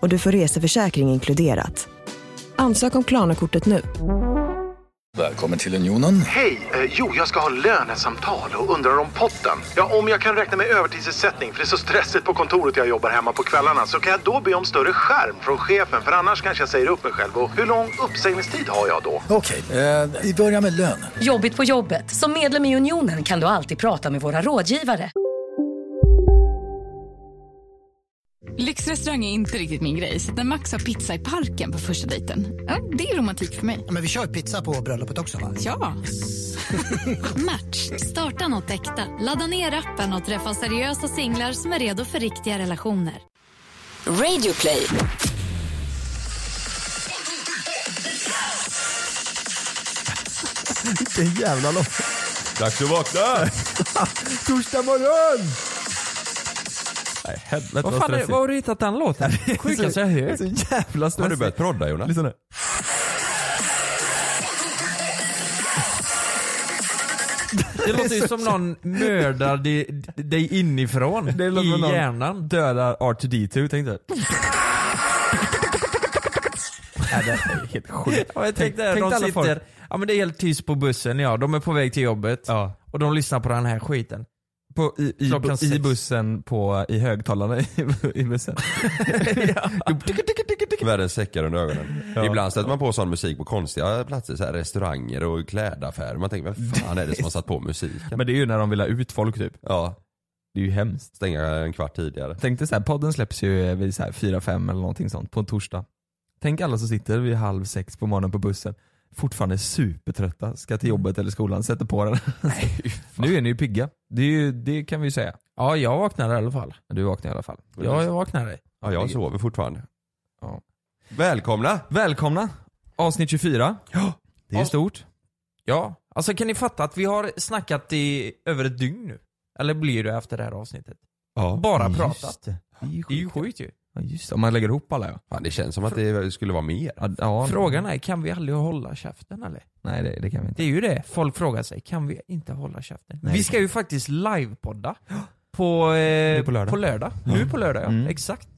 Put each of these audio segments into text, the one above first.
och du får reseförsäkring inkluderat. Ansök om Klarna-kortet nu. Välkommen till Unionen. Hej! Eh, jo, jag ska ha lönesamtal och undrar om potten. Ja, om jag kan räkna med övertidsersättning för det är så stressigt på kontoret jag jobbar hemma på kvällarna så kan jag då be om större skärm från chefen för annars kanske jag säger upp mig själv. Och hur lång uppsägningstid har jag då? Okej, eh, vi börjar med lön. Jobbigt på jobbet. Som medlem i Unionen kan du alltid prata med våra rådgivare. Lyxrestaurang är inte riktigt min grej, så när Max har pizza i parken på första dejten, ja, det är romantik för mig. Men vi kör pizza på bröllopet också va? Ja! Match. Starta något äkta. Ladda ner appen och träffa seriösa singlar som är redo för riktiga relationer. Radioplay. Vilken jävla låt. Dags att vakna! Torsdag morgon! Nej, helvete Vad vad fan är, stressigt. var har du hittat den låten? Sjukaste jag hört. Så jävla stressigt. Har du börjat prodda Jonas? Lyssna nu. Det låter ju som någon mördar di- dig inifrån. Det låter I som någon- hjärnan. Dödar R2D2 tänkte jag. Nej, det här är helt sjukt. Ja, jag tänkte, tänk tänk, alla de folk. sitter, ja men det är helt tyst på bussen ja. De är på väg till jobbet. Ja. Och de lyssnar på den här skiten. På, i, i, Klockan bu- I sex. bussen på, i högtalarna i, i bussen. Världens säckar under ögonen. Ibland sätter man på sån musik på konstiga platser, så här restauranger och klädaffärer. Man tänker, vem fan är det som har satt på musiken? Men det är ju när de vill ha ut folk typ. Ja, Det är ju hemskt. stänga en kvart tidigare. Tänk dig så här, podden släpps ju vid så här 4-5 eller någonting sånt på en torsdag. Tänk alla som sitter vid halv sex på morgonen på bussen, fortfarande supertrötta, ska till jobbet eller skolan, sätter på den. nu är ni ju pigga. Det, är ju, det kan vi ju säga. Ja, jag vaknade i alla fall. Du vaknar i alla fall. Ja, jag vaknade. Ja, jag sover fortfarande. Ja. Välkomna! Välkomna! Avsnitt 24. Ja. Det är Ja. stort. Ja. Alltså kan ni fatta att vi har snackat i över ett dygn nu? Eller blir det efter det här avsnitet? Ja. Bara Just pratat. det. Det är ju Det är ju sjukt. sjukt ju. Ja, just det. Om man lägger ihop alla ja. Fan, det känns som att det skulle vara mer. ja, ja. Frågan är, kan vi aldrig hålla käften eller? Nej det, det kan vi inte. Det är ju det folk frågar sig, kan vi inte hålla käften? Nej. Vi ska ju faktiskt livepodda på, eh, Nu på lördag. Nu på lördag ja, Mm. exakt.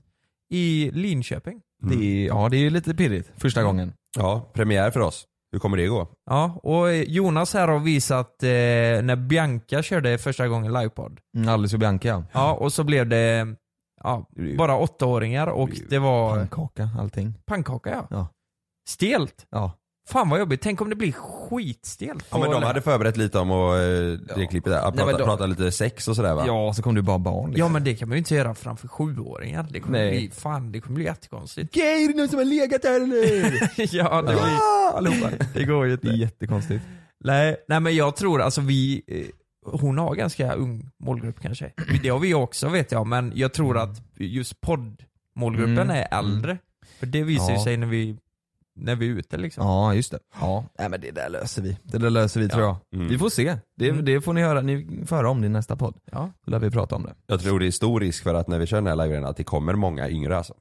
I Linköping. Mm. Det är, ja det är ju lite pirrigt första gången. Ja, premiär för oss. Hur kommer det gå? Ja, och eh, Jonas här har visat eh, när Bianca körde första gången livepodd. Mm, Alice och Bianca ja. Ja, Mm. och så blev det ja, bara åttaåringar och det var Pannkaka, allting. pannkaka ja. Ja. Stelt. Ja. Fan vad jobbigt, tänk om det blir skitstelt. Ja men på de lördag. hade förberett lite om och, eh, det klippet där. Prata, men de- prata lite sex och sådär va? Ja, så kom du bara barn liksom. Liksom. Ja men det kan man ju inte göra framför sjuåringar. Det kommer Nej. bli, fan det kommer bli jättekonstigt. Gay, är det någon som har legat här eller? ja, det blir, ja! Allihopa. Det går ju Det är jättekonstigt. Nej, nej men jag tror alltså vi, eh, hon har ganska ung målgrupp kanske. Det har vi också vet jag, men jag tror att just poddmålgruppen Mm. är äldre. För det visar ju Ja. sig när vi, när vi är ute liksom. Ja, just det. Ja, Nej, men det där löser vi. Det där löser vi tror jag. Mm. Vi får se. Det, Mm. det får ni höra, ni får höra om det i nästa podd. Ja. Då lär vi prata om det. Jag tror det är stor risk för att när vi kör den här livegrejen att det kommer många yngre alltså.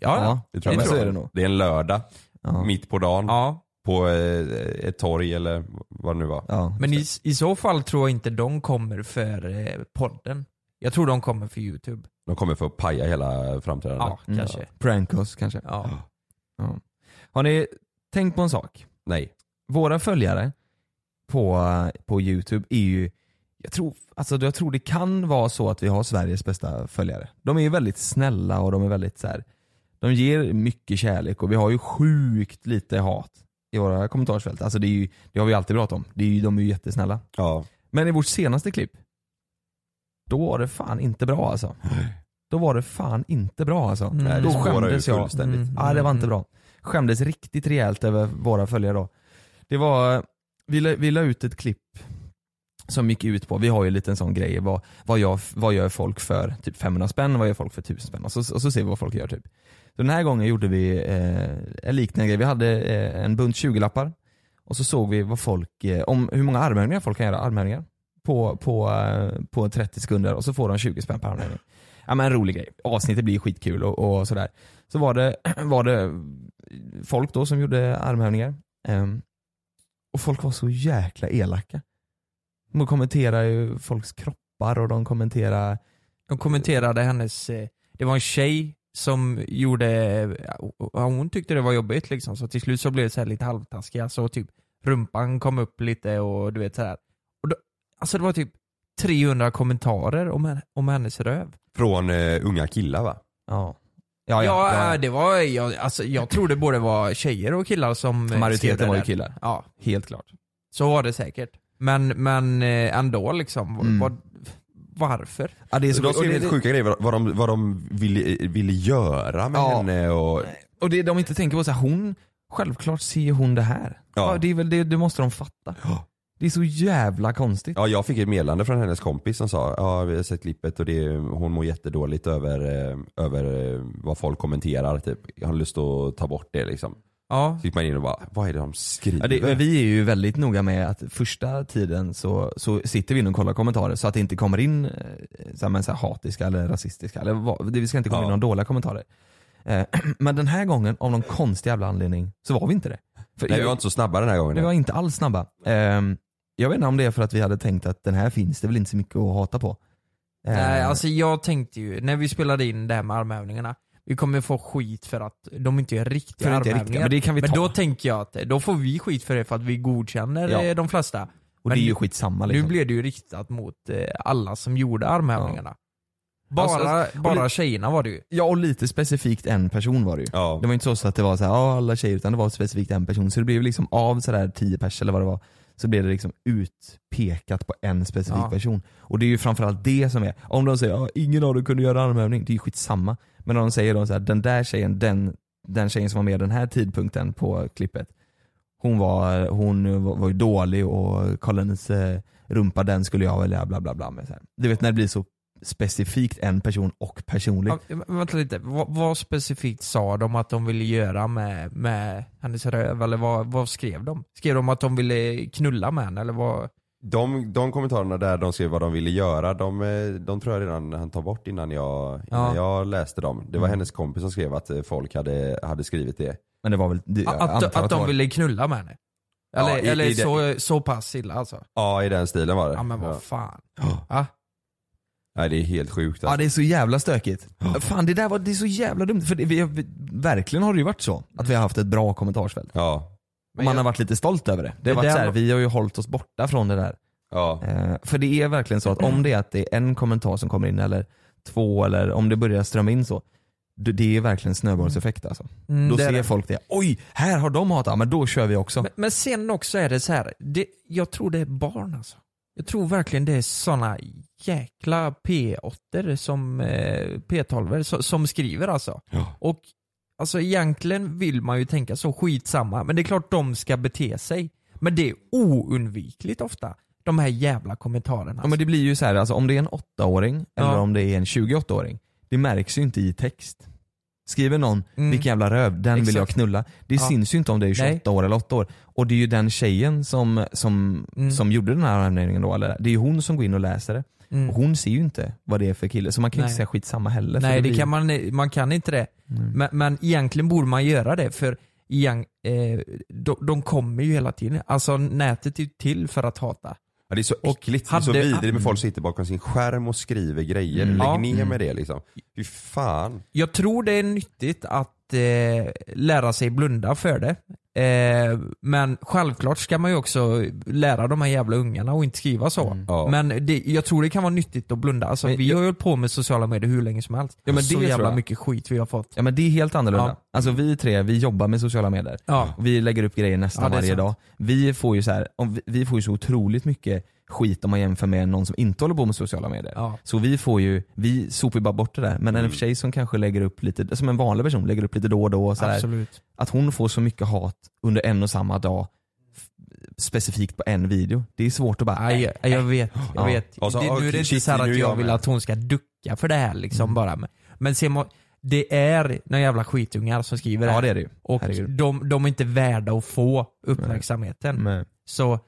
Ja, ja. Det tror men jag. så är det nog. Det är en lördag, Ja. mitt på dagen, ja. på eh, ett torg eller vad det nu var. Ja. Men i, i så fall tror jag inte de kommer för eh, podden. Jag tror de kommer för youtube. De kommer för att paja hela framträdandet. Ja, Mm. kanske. Prank oss kanske. Ja. Har ni tänkt på en sak? Nej. Våra följare på, på youtube är ju, jag tror, alltså, jag tror det kan vara så att vi har Sveriges bästa följare. De är ju väldigt snälla och de är väldigt så här. de ger mycket kärlek och vi har ju sjukt lite hat i våra kommentarsfält. Alltså det, är ju, det har vi alltid pratat om. Det är ju, de är ju jättesnälla. Ja. Men i vårt senaste klipp, då var det fan inte bra alltså. Då var det fan inte bra alltså. Nej, det då spårar ju skämdes jag. fullständigt. Mm, Ja, det var inte mm. bra. Skämdes riktigt rejält över våra följare då. Det var, vi la, vi la ut ett klipp som gick ut på, vi har ju lite en sån grej, vad, vad, gör, vad gör folk för typ 500 spänn, vad gör folk för 1000 spänn? Och så, och så ser vi vad folk gör typ. Så den här gången gjorde vi eh, en liknande grej. Vi hade eh, en bunt 20-lappar och så såg vi vad folk, eh, om hur många armhävningar folk kan göra, armhävningar på, på, eh, på 30 sekunder och så får de 20 spänn per armhävning. Ja, men en rolig grej. Avsnittet blir skitkul och, och sådär. Så var det, var det folk då som gjorde armhävningar. Ehm, och folk var så jäkla elaka. De kommenterar ju folks kroppar och de kommenterar... De kommenterade hennes, eh, det var en tjej som gjorde, eh, hon tyckte det var jobbigt liksom så till slut så blev det så här lite halvtaskiga så typ rumpan kom upp lite och du vet sådär. Alltså det var typ 300 kommentarer om, henne, om hennes röv. Från eh, unga killar va? Ja. Ja, eh, det var, jag, alltså, jag tror det både var tjejer och killar som eh, skrev det Majoriteten var ju där. killar. Ja. Helt klart. Så var det säkert. Men, men eh, ändå liksom, vad- Mm. vad, varför? Ja, det är så- de och skrev det- helt sjuka grejer vad de, vad de ville, ville göra med Ja. henne och... Och det de inte tänker på, så här, hon, självklart ser hon det här. Ja. Ja. det, är väl, det, det måste de fatta. Det är så jävla konstigt. Ja, jag fick ett meddelande från hennes kompis som sa ja, vi har sett klippet och det, hon mår jättedåligt över, eh, över eh, vad folk kommenterar. Typ. Jag har lust att ta bort det liksom. Ja. Så gick man in och bara, vad är det de skriver? Ja, det, men vi är ju väldigt noga med att första tiden så, så sitter vi inne och kollar kommentarer så att det inte kommer in eh, så här, men så här, hatiska eller rasistiska. Eller vad, det, vi ska inte komma in Ja. några dåliga kommentarer. Eh, men den här gången, av någon konstig jävla anledning, så var vi inte det. För Nej, vi var inte så snabba den här gången. Vi var inte alls snabba. Ehm, jag vet inte om det är för att vi hade tänkt att den här finns det väl inte så mycket att hata på. Ehm, Nej, alltså jag tänkte ju, när vi spelade in det här med armhävningarna, vi kommer få skit för att de inte är riktiga För det inte är armhävningar. riktiga, men det kan vi ta. då tänker jag att då får vi skit för det för att vi godkänner Ja. eh, de flesta. och men det är ju nu- skitsamma liksom. Nu blev det ju riktat mot eh, alla som gjorde armhävningarna. Bara, Alltså, och bara li- tjejerna var det ju. Ja och lite specifikt en person var det ju. Ja. Det var inte så, så att det var så här, "Ja, alla tjejer utan det var specifikt en person. Så det blev liksom av sådär 10 pers eller vad det var, så blev det liksom utpekat på en specifik Ja. person. Och det är ju framförallt det som är, om de säger "Ja, ingen av dem kunde göra armhävning, det är ju skitsamma. Men om de säger då så här, den där tjejen, den, den tjejen som var med den här tidpunkten på klippet, hon var, hon var, var ju dålig och kolla hennes eh, rumpa, den skulle jag välja bla bla bla med. Så här. Du vet när det blir så specifikt en person och personligt. Ja, men vänta lite, vad, vad specifikt sa de att de ville göra med, med hennes röv? Eller vad, vad skrev de? Skrev de att de ville knulla med henne eller vad? De, de kommentarerna där de skrev vad de ville göra, de, eh, de tror jag redan han tar bort innan jag, innan jag läste dem. Det var Mm. hennes kompis som skrev att eh, folk hade, hade skrivit det. Men det var väl, det, jag Att, antar att, det de var- ville knulla med henne? Ja, Eller, i- eller i det- så, så pass illa alltså? Ja, i den stilen var det. Ja men Ja. vad fan. Ja. Ja. Nej, det är helt sjukt. alltså. Ja det är så jävla stökigt. Fan det där var, det är så jävla dumt. För det, vi, vi, verkligen har det ju varit så. Att vi har haft ett bra kommentarsfält. Ja. Och man har varit lite stolt över det. Det har Det varit där så här, var- vi har ju hållit oss borta från det där. Ja. Eh, för det är verkligen så att om det är att det är en kommentar som kommer in eller två eller om det börjar strömma in så. Det det är verkligen snöbollseffekt alltså. Mm, Då det är ser det. folk det. Oj, här har de hatat, men då kör vi också. Men, men sen också är det så här. Det, jag tror det är barn alltså. Jag tror verkligen det är såna jäkla p 8 som eh, p 12 som, som skriver alltså. Ja. Och alltså egentligen vill man ju tänka så, skitsamma. Men det är klart de ska bete sig. Men det är oundvikligt ofta. De här jävla kommentarerna. Ja, men det blir ju så här, alltså, om det är en 8-åring eller Ja. om det är en 28-åring, det märks ju inte i text. Skriver någon Mm. “vilken jävla röv, den vill jag Exakt. knulla”, det Ja. syns ju inte om det är 28 Nej. år eller 8 år. Och det är ju den tjejen som, som, Mm. som gjorde den här armhävningen då, eller det är ju hon som går in och läser det. Mm. Och hon ser ju inte vad det är för kille, så man kan ju Nej. inte säga skitsamma heller. för Nej, det blir- kan man, man kan inte det. Men, men egentligen borde man göra det för igen, eh, de, de kommer ju hela tiden. Alltså nätet är ju till för att hata. Ja, det är så äckligt. hade- Mm. det är så vidrigt med folk som sitter bakom sin skärm och skriver grejer. Mm. Lägg Ja. ner med det liksom. Fy fan. Jag tror det är nyttigt att eh, lära sig blunda för det. Eh, men självklart ska man ju också lära de här jävla ungarna och inte skriva så. Ja. Men det, jag tror det kan vara nyttigt att blunda. Alltså, Men vi jag- har ju hållit på med sociala medier hur länge som helst. Ja, men det så tror jävla jag. mycket skit vi har fått. Ja men det är helt annorlunda. Ja. Alltså vi tre, vi jobbar med sociala medier. Ja. Vi lägger upp grejer nästan Ja, det är varje sant. dag. Vi får, ju så här, om vi- vi får ju så otroligt mycket skit om man jämför med någon som inte håller på med sociala medier. Ja. Mm. Så vi får ju, vi sopar ju bara bort det där. Men en tjej som kanske lägger upp lite, som en vanlig person, lägger upp lite då och då. och Så här, Absolut. att hon får så mycket hat under en och samma dag, f- specifikt på en video. Det är svårt att bara, Ja, jag, jag vet. Jag Äh, Ja. vet. Och så, det, nu är okej, det inte shit, så här nu är att jag jag vill med. Mm. att hon ska ducka för det här liksom bara. Men, men ser man, det är några jävla skitungar som skriver Ja, här. det är det ju. Och Herregud. Mm. de, de är inte värda att få uppmärksamheten. Nej. Så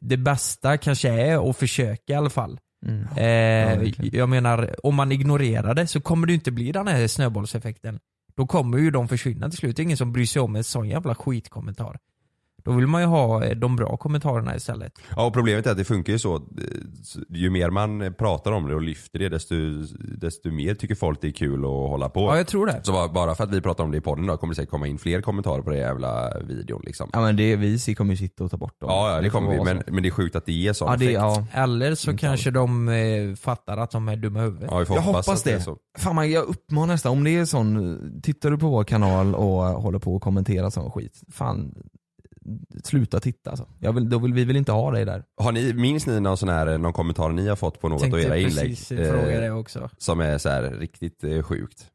det bästa kanske är att försöka i alla fall. Mm. Eh, jag menar, om man ignorerar det så kommer det ju inte bli den här snöbollseffekten. Då kommer ju de försvinna till slut. Det är ingen som bryr sig om en sån jävla skitkommentar. Då vill man ju ha eh, de bra kommentarerna istället. Ja, och problemet är att det funkar ju så. eh, s- Ju mer man pratar om det och lyfter det desto, desto mer tycker folk det är kul att hålla på. Ja, jag tror det. Så bara- bara för att vi pratar om det i podden då kommer det säkert komma in fler kommentarer på den jävla videon liksom. Ja men det, vi kommer ju sitta och ta bort dem. Ja, ja det kommer får vi. vara Men, så. men det är sjukt att det är sån Ja, det- effekt. ja. Eller så kanske de eh, fattar att de är dumma i huvudet. Mm, Ja, vi får Jag hoppas hoppas att det är det. så. Fan man, jag uppmanar nästan, om det är sån, tittar du på vår kanal och håller på och kommenterar sån skit, fan sluta titta alltså. jag vill, då vill, Vi vill inte ha dig där. Har ni, minns ni någon sån här, någon kommentar ni har fått på något Tänkte av era inlägg? Eh, precis fråga det också. Som är så här riktigt eh, sjukt.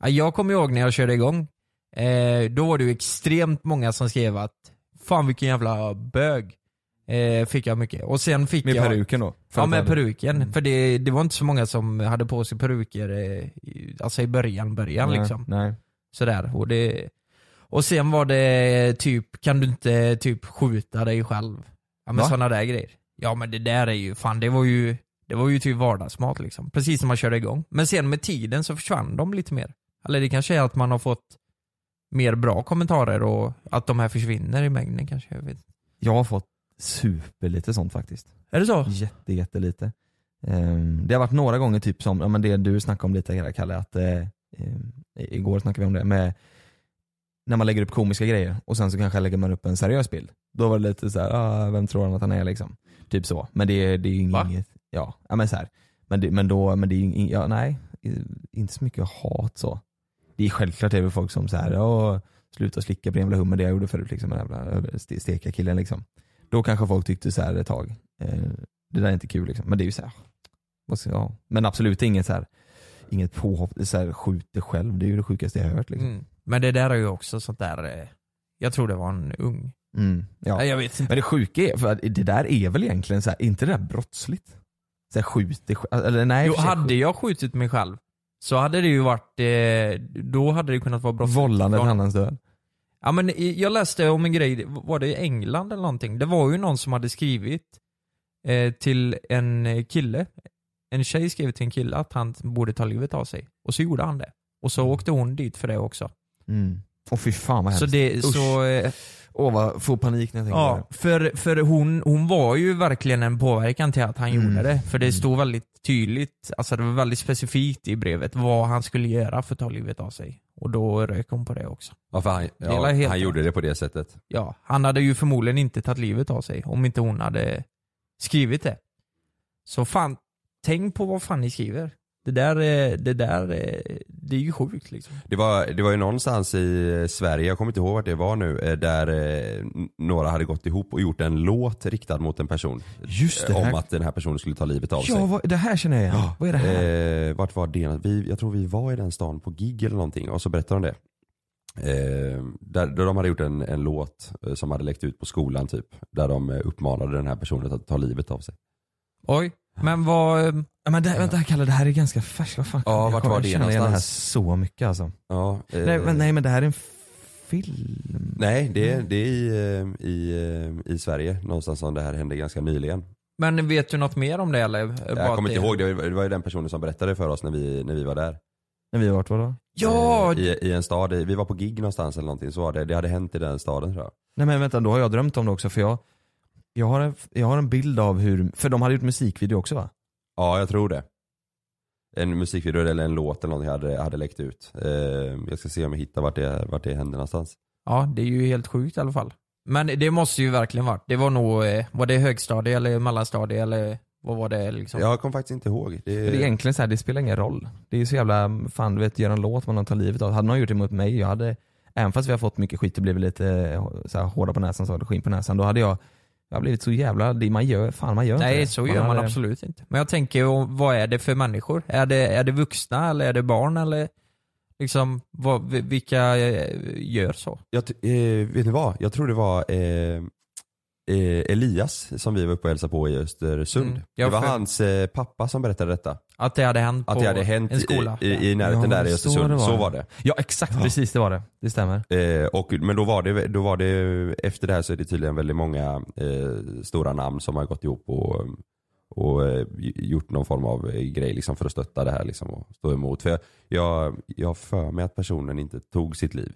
Ja, Jag kommer ihåg när jag körde igång. Eh, då var det ju extremt många som skrev att Fan vilken jävla bög. Eh, fick jag mycket. Och sen fick Med Mm. jag... peruken då? För Ja att med det- peruken. För det, det var inte så många som hade på sig peruker eh, i- alltså i början, början Nej, liksom. nej. Sådär. Och, det, och sen var det typ, kan du inte typ skjuta dig själv? Ja men Va? sådana där grejer. Ja men det där är ju, fan det var ju, det var ju typ vardagsmat liksom. Precis när man körde igång. Men sen med tiden så försvann de lite mer. Eller det kanske är att man har fått mer bra kommentarer och att de här försvinner i mängden kanske. Jag vet. inte. Jag har fått superlite sånt faktiskt. Är det så? Jätte, jättelite. Um, det har varit några gånger typ som, ja, men det du snackade om lite här Kalle, att eh, ehm, i- igår snackade vi om det, med när man lägger upp komiska grejer och sen så kanske lägger man upp en seriös bild. Då var det lite så här, ah, vem tror han att han är liksom? Typ så. Men det, det är ju inget, ja, ja men så här. Men det, men då, men det är ju ing- ja, nej, i- inte så mycket hat så. Det är självklart det är väl folk som så här, "Åh, sluta slicka på din jävla hummer, det jag gjorde förut liksom, den jävla överste- steka killen liksom. Då kanske folk tyckte så här ett tag, eh, det där är inte kul liksom. Men det är ju så här, vad ska jag? Men absolut inget så här, inget påhopp, det är så här, skjut dig själv, det är ju det sjukaste jag har hört liksom. Mm. Men det där är ju också sånt där, eh, jag tror det var en ung. Mm, ja. Nej, jag vet inte. Men det sjuka är, för att det där är väl egentligen så här, inte det där brottsligt? Så här, skjut dig själv- eller nej. jo, för sig, hade jag skjutit mig själv så hade det ju varit, eh, då hade det kunnat vara brottsligt. Vållande till Ja. annans död. Ja men i- jag läste om en grej, var det i England eller någonting? Det var ju någon som hade skrivit eh, till en eh, kille, en tjej skrev till en kille att han borde ta livet av sig. Och så gjorde han det. Och så åkte hon dit för det också. Mm. Och fy fan vad Så hemskt. det, Usch. så, eh, Åh vad, får panik när jag tänker på ja, det. för, för hon, hon var ju verkligen en påverkan till att han Mm. gjorde det. För det stod väldigt tydligt, alltså det var väldigt specifikt i brevet vad han skulle göra för att ta livet av sig. Och då rök hon på det också. Ja, för han, Det är väl ja, helt han gjorde rätt. det på det sättet. Ja, han hade ju förmodligen inte tagit livet av sig om inte hon hade skrivit det. Så fan, tänk på vad fan ni skriver. Det där, eh, det där, eh, det är ju sjukt liksom. Det var, det var ju någonstans i eh, Sverige, jag kommer inte ihåg vart det var nu, eh, där eh, n- några hade gått ihop och gjort en låt riktad mot en person. Just det, Eh, Om här- att den här personen skulle ta livet av sig. Ja, vad, det här känner jag igen. Vad är det här? Eh, vart var det? Vi, jag tror vi var i den stan på gig eller någonting och så berättade de det. Eh, där, där de hade gjort en, en låt eh, som hade läckt ut på skolan typ. Där de eh, uppmanade den här personen att ta livet av sig. Oj, men vad... eh, Eh, Ja, men det, vänta Kalle, det här är ganska färskt. Vad fan? Ja, jag vart kommer var det känna igen det här någonstans? så mycket alltså. Ja, eh, Nej, men, nej men det här är en film. nej, det, är- det är i, eh, i, eh, i Sverige någonstans som det här hände ganska nyligen. Men vet du något mer om det eller? Bara jag kommer att inte det- ihåg, det var, det var ju den personen som berättade för oss när vi, när vi var där. När vi har varit var då? Ja! Eh, I, I en stad, i- vi var på gig någonstans eller någonting så var det, det hade hänt i den staden tror jag. Nej men vänta, då har jag drömt om det också för jag, jag, har, en, jag har en bild av hur, för de hade gjort musikvideo också va? Ja, jag tror det. En musikvideo eller en låt eller någonting hade, hade läckt ut. Eh, jag ska se om jag hittar vart det, vart det hände någonstans. Ja, det är ju helt sjukt i alla fall. Men det måste ju verkligen varit, det var nog, eh, var det högstadie eller mellanstadie eller vad var det liksom? Jag kommer faktiskt inte ihåg. Eh. För det är egentligen så här, det spelar ingen roll. Det är ju så jävla, fan du vet, göra en låt man tar livet av. Hade någon gjort det mot mig, jag hade, även fast vi har fått mycket skit och blivit lite eh, så här, hårda på näsan, så har det skinn på näsan, då hade jag, jag har blivit så jävla, det man gör, fan man gör inte Nej, det. så gör man hade- absolut inte. Men jag tänker, och vad är det för människor? Är det, är det vuxna eller är det barn eller liksom, vad, vi- vilka eh, gör så? Jag, t- eh, vet ni vad? Jag tror det var eh, eh, Elias som vi var uppe och hälsade på i Östersund. Mm. Ja, det var för- hans eh, pappa som berättade detta. Att det hade hänt Att på det hade hänt en skola. i, i, i närheten Ja, där i så Östersund. det var. Så var det. Ja exakt, precis det var det. Det stämmer. Eh, och, men då var, det, då var det, efter det här så är det tydligen väldigt många eh, stora namn som har gått ihop och, och eh, gjort någon form av eh, grej liksom för att stötta det här liksom och stå emot. För jag, jag, jag har för mig att personen inte tog sitt liv.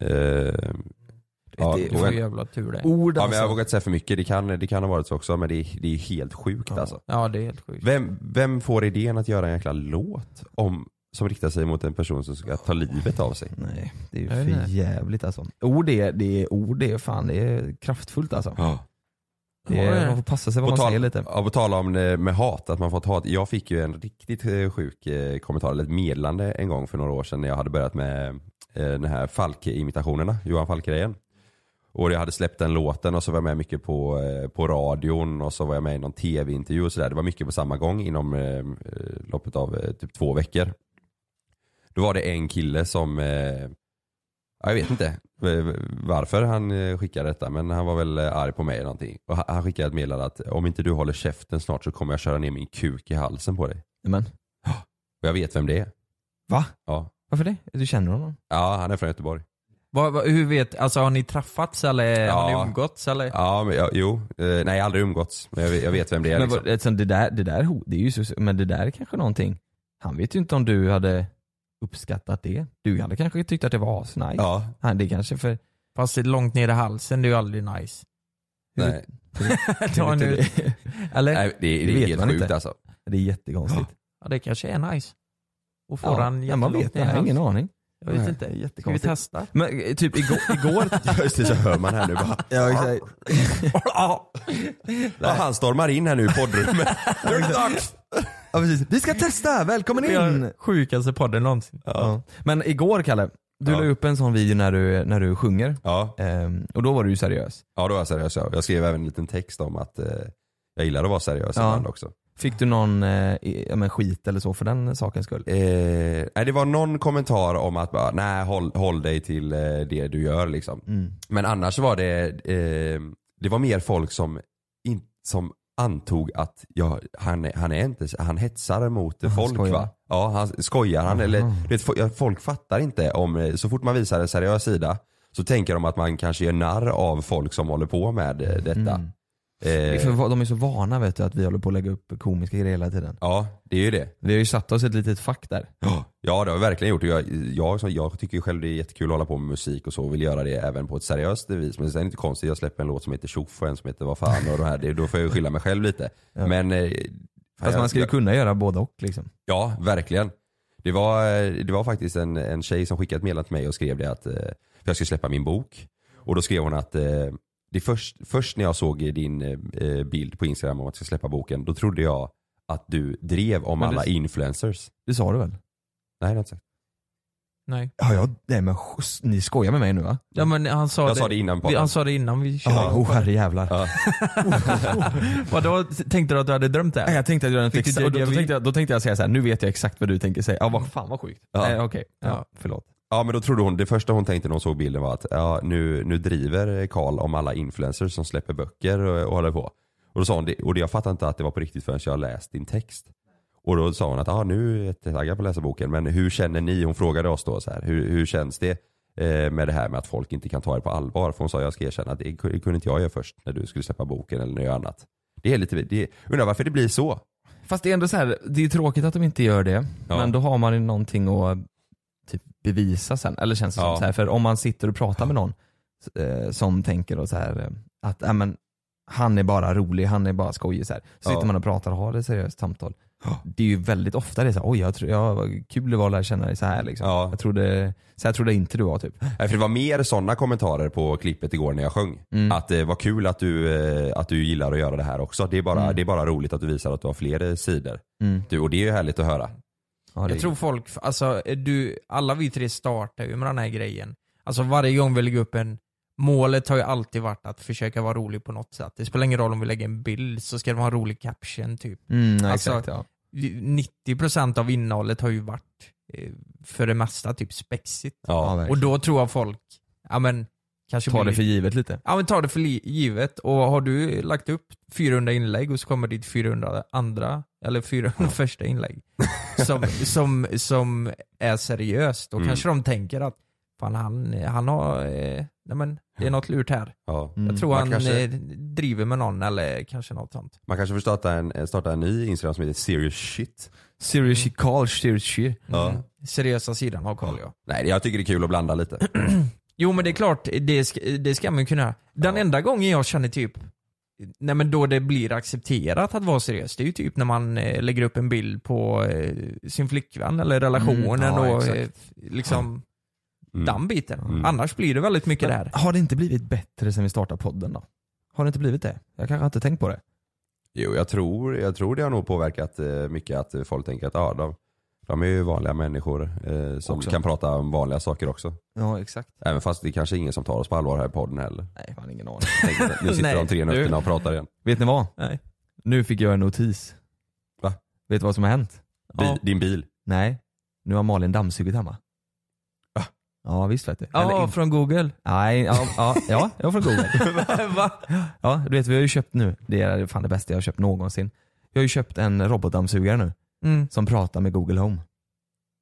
Eh, ja, det- det och- var ju jävla tur det. Ord, Ord, ja, men alltså. jag vågar inte säga för mycket, det kan, det kan ha varit så också men det är, det är helt sjukt alltså. Ja det är helt sjukt. Vem, vem får idén att göra en jäkla låt om, som riktar sig mot en person som ska ta livet av sig? Nej, det är ju Jag vet för inte. jävligt alltså. Ord är, det är, ord är fan det är kraftfullt alltså. Ja. Det Ja, det är, är man får passa sig vad På man tal- säger lite. Ja, på tal om det med hat, att man fått hat. Jag fick ju en riktigt eh, sjuk eh, kommentar, eller ett meddelande en gång för några år sedan när jag hade börjat med eh, den här Falke-imitationerna, Johan Falkgrejen. Och jag hade släppt den låten och så var jag med mycket på, eh, på radion och så var jag med i någon tv-intervju och sådär. Det var mycket på samma gång inom eh, eh, loppet av eh, typ två veckor. Då var det en kille som, eh, ja, jag vet inte eh, varför han eh, skickade detta men han var väl eh, arg på mig eller någonting. Och han- han skickade ett meddelande att om inte du håller käften snart så kommer jag köra ner min kuk i halsen på dig. Men, Och jag vet vem det är. va? Ja, Varför det? Du känner honom? ja han är från Göteborg. Vad- vad- hur vet, alltså har ni träffats eller har Ja. ni umgåtts eller? Ja, men, ja jo, eh, nej aldrig umgåtts men jag, vet- jag vet vem det är Men liksom. vad- alltså, det där, det där, ho- det är ju så, men det där är kanske någonting. Han vet ju inte om du hade uppskattat det. Du hade kanske tyckt att det var asnice. Ja. Han, det kanske för... Fast det är långt ner i halsen, det är ju aldrig nice. Nej. Ta Hur- nu. Eller? Nej, det, det, Det är vet helt man sjukt inte. alltså. Det är jättekonstigt. Ja det kanske är nice. Och får Ja, han ja, man vet jättelångt ner i det. Jag har halsen? ingen aning. Jag vet Nej, inte. Ska vi jättekonstigt. testa? Men eh, typ igår... igår Just det, så hör man här nu bara. ja, exakt. Ja, han stormar in här nu i poddrummet. Nu är det dags! Ja, precis. Vi ska testa, välkommen Vi har in! Sjukaste podden någonsin. Ja. Men igår Kalle, du Ja. la upp en sån video när du, när du sjunger. Ja. Ehm, och då var du ju seriös. Ja då var jag seriös. ja. Jag skrev även en liten text om att eh, jag gillar att vara seriös Ja. ibland också. Fick du någon eh, i- ja, men skit eller så för den sakens skull? Eh, nej, det var någon kommentar om att bara, nej håll, håll dig till eh, det du gör liksom. Mm. Men annars var det, eh, det var mer folk som, in, som antog att ja, han, är- han är inte, han hetsar mot han folk skojar. va? Ja, han skojar han Aha. eller, du vet, fo- ja, folk fattar inte om, eh, så fort man visar en seriös sida så tänker de att man kanske gör narr av folk som håller på med eh, detta. Mm. Det är Eh, för- De är så vana vet du att vi håller på att lägga upp komiska grejer hela tiden. ja, det är ju det. Vi har ju satt oss i ett litet fack där. Ja det har jag verkligen gjort. Jag, jag, som- jag tycker ju själv det är jättekul att hålla på med musik och så och vill göra det även på ett seriöst vis. Men sen är det inte konstigt, jag släpper en låt som heter tjoff och en som heter vad fan och de här, det, då får jag ju skylla mig själv lite. Ja. Men eh, Fast jag- man ska ju jag- kunna göra både och liksom. Ja, verkligen. Det var, eh, det var faktiskt en, en tjej som skickade ett meddelande till mig och skrev det att eh, för jag ska släppa min bok. Och då skrev hon att eh, det är först, först när jag såg din eh, bild på Instagram om att jag ska släppa boken, då trodde jag att du drev om Men det- alla influencers. Det sa du väl? Nej, det har jag inte sagt. Nej. Ja, jag, nej men sch- ni skojar med mig nu va? Ja men han sa Jag det. sa det innan vi, alltså, podden. han sa det innan vi körde. Ja, oh, herrejävlar. Ja. Vadå, tänkte du att du hade drömt det? Nej, jag tänkte att göra en Fick du text och då, då, déjà vu? tänkte jag, då tänkte jag säga så här, nu vet jag exakt vad du tänker säga. Ja, vad fan vad sjukt. Ja. Nej, okej. Ja, Ja. förlåt. Ja men då trodde hon, det första hon tänkte när hon såg bilden var att ja, nu, nu driver Karl om alla influencers som släpper böcker och, och håller på. Och då sa hon, det, och det, jag fattade inte att det var på riktigt förrän jag läst din text. Och då sa hon att ja, nu är jag taggad på att läsa boken men hur känner ni, hon frågade oss då så här, hur, hur känns det eh, med det här med att folk inte kan ta det på allvar? För hon sa jag ska erkänna att det kunde inte jag göra först när du skulle släppa boken eller något annat. Det är lite, det, undrar varför det blir så? Fast det är ändå så här, det är tråkigt att de inte gör det. Ja. Men då har man ju någonting att typ, bevisa sen. Eller känns det Ja. som. Så här, för om man sitter och pratar med någon eh, som tänker då så här, eh, att ja, men, han är bara rolig, han är bara skojig. Så, här. så Ja. sitter man och pratar och har ett seriöst samtal. Det är ju väldigt ofta det är så här, oj jag tror, ja, vad kul det var att lära känna dig så här liksom. Ja. Jag trodde, så här trodde jag inte du var typ. Nej, för det var mer sådana kommentarer på klippet igår när jag sjöng. Mm. Att eh, vad kul att du, eh, att du gillar att göra det här också. Det är, bara, Mm. det är bara roligt att du visar att du har fler eh, sidor. Mm. Du, och det är ju härligt att höra. Ja, det- Jag tror folk, alltså du, alla vi tre startar ju med den här grejen. Alltså varje gång vi lägger upp en, målet har ju alltid varit att försöka vara rolig på något sätt. Det spelar ingen roll om vi lägger en bild så ska det vara en rolig caption typ. Mm, nej, Alltså, exakt, ja. 90% av innehållet har ju varit eh, för det mesta typ spexigt. Ja, verkligen. Och då tror jag folk, ja men Kanske Ta blir det för givet lite. Ja men ta det för li- givet och har du lagt upp 400 inlägg och så kommer ditt 400 andra, eller 400 första inlägg som, som, som är seriöst, då Mm. kanske de tänker att fan han, han har, eh, nej men det är något lurt här. Mm. Ja. Jag tror Mm. Man han kanske- eh, driver med någon eller kanske något sånt. Man kanske får starta en, eh, starta en ny Instagram som heter serious shit. Serious shit, call serious shit. Ja. Mm. Seriösa sidan av Carl ja. Nej jag tycker det är kul att blanda lite. Jo men det är klart, det ska, det ska man ju kunna. Den enda gången jag känner typ, nej men då det blir accepterat att vara seriös, det är ju typ när man eh, lägger upp en bild på eh, sin flickvän eller relationen Mm, ja, och exakt. eh, liksom Mm. den biten. Mm. Annars blir det väldigt mycket Men där. Har det inte blivit bättre sen vi startade podden då? Har det inte blivit det? Jag kanske inte tänkt på det. Jo, jag tror, jag tror det har nog påverkat eh, mycket att eh, folk tänker att ah, de, de är ju vanliga människor eh, som Också. kan prata om vanliga saker också. Ja exakt. Även fast det är kanske är ingen som tar oss på allvar här i podden heller. Nej, fan ingen aning. Tänk att Nu sitter Nej, de tre du. nötterna och pratar igen. Vet ni vad? Nej. Nu fick jag en notis. Va? Vet du vad som har hänt? Bi, Din bil. Nej, nu har Malin dammsugit hemma. Va? Ja visst vet du. Ja, Eller- från google. Nej, ja, ja, ja jag får Google. Ja, du vet vi har ju köpt nu, det är fan det bästa jag har köpt någonsin. Jag har ju köpt en robotdammsugare nu, Mm. som pratar med Google Home.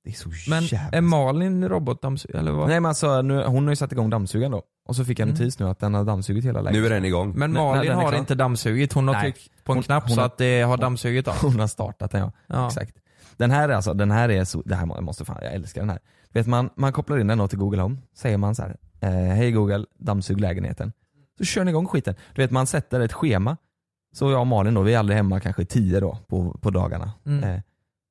Det är så Men jävla... är Malin robotdammsugare eller vad? Nej men alltså, nu, hon har ju satt igång dammsugaren då. Och så fick jag en Mm. notis nu att den har dammsugit hela Nu är lägenheten. den igång. Men Nej, Malin den är har klar. inte dammsugit, hon har Nej. tryckt på en Hon- knapp hon så har- att det har dammsugit av. Hon har startat den ja. Ja. Exakt. Den här är alltså, den här är så, det här må- måste fan, jag älskar den här. Du Vet man, man kopplar in den då till Google Home, säger man så här, eh, hej Google, dammsug lägenheten. Så kör den igång skiten. Du vet man sätter ett schema, så jag och Malin då, vi är aldrig hemma kanske tio då på, på dagarna. Mm. Eh,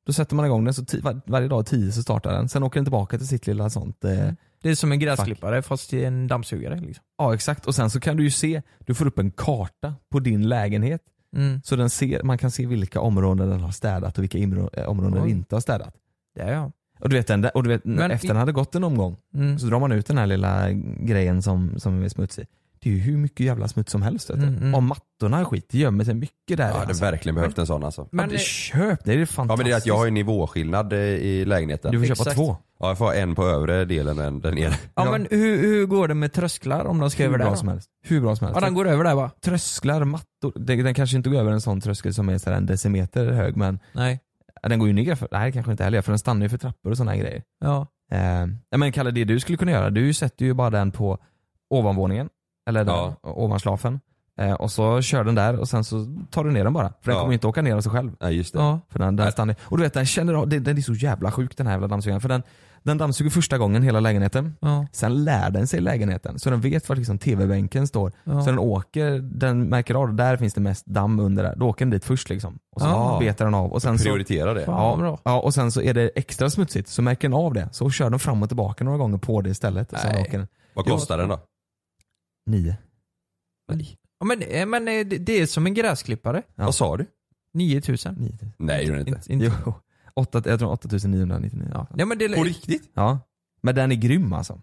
då sätter man igång den, så ti- var, varje dag tio så startar den. Sen åker den tillbaka till sitt lilla sånt. Eh, Mm. Det är som en gräsklippare fast till en dammsugare liksom. Ja exakt, och sen så kan du ju se, du får upp en karta på din lägenhet. Mm. Så den ser, man kan se vilka områden den har städat och vilka imro- eh, områden Oj. den inte har städat. Det är jag. Och du vet, den där, och du vet Men- efter den hade gått en omgång Mm. så drar man ut den här lilla grejen som, som är smutsig. Det är ju hur mycket jävla smuts som helst. Vet du. Mm, mm. Och mattorna och skit, det gömmer sig mycket där. Jag hade verkligen behövt en sån alltså. Men, Men- ja, det köp, det är fantastiskt. Ja men det är att jag har ju nivåskillnad eh, i lägenheten. Du får köpa Exakt. två. Ja, jag får ha en på övre delen och en där nere. Ja men hur, hur går det med trösklar om de ska Hur över där bra då? som helst. Hur bra som helst. Ja den går över där va? Trösklar, mattor. Den, den kanske inte går över en sån tröskel som är så här en decimeter hög men Nej. ja, den går ju ner för, nej kanske inte heller för den stannar ju för trappor och sådana grejer. Ja. Eh, ja, men Kalle, det du skulle kunna göra, du sätter ju bara den på ovanvåningen, eller där, Ja. ovan schlafen. Eh, och så kör den där och sen så tar du ner den bara. För den Ja. kommer ju inte åka ner av sig själv. Nej just det. Ja. För Äh. den, den Nej. stannar, och du vet den känner av, den, den är så jävla sjuk den här jävla dammsugaren. För den, den dammsuger första gången hela lägenheten. Ja. Sen lär den sig lägenheten. Så den vet var liksom tv-bänken står. Ja. Så den åker, den märker av, där finns det mest damm under där. Då åker den dit först liksom. Och så Ja. betar den av. Och sen så, Prioritera det. Fan. Ja, vad bra. ja, och sen så är det extra smutsigt, så märker den av det. Så kör den fram och tillbaka några gånger på det istället. Och sen Nej. åker den. Vad kostar den då? Nio. Ja, men, eh, men eh, det det är som en gräsklippare. Ja. Vad sa du? 9000. Nio. Nej det är den inte. Inte, inte. Jo. Åtta, jag tror 8999. Ja. Nej men, det, På riktigt? ja. Men den är grym alltså.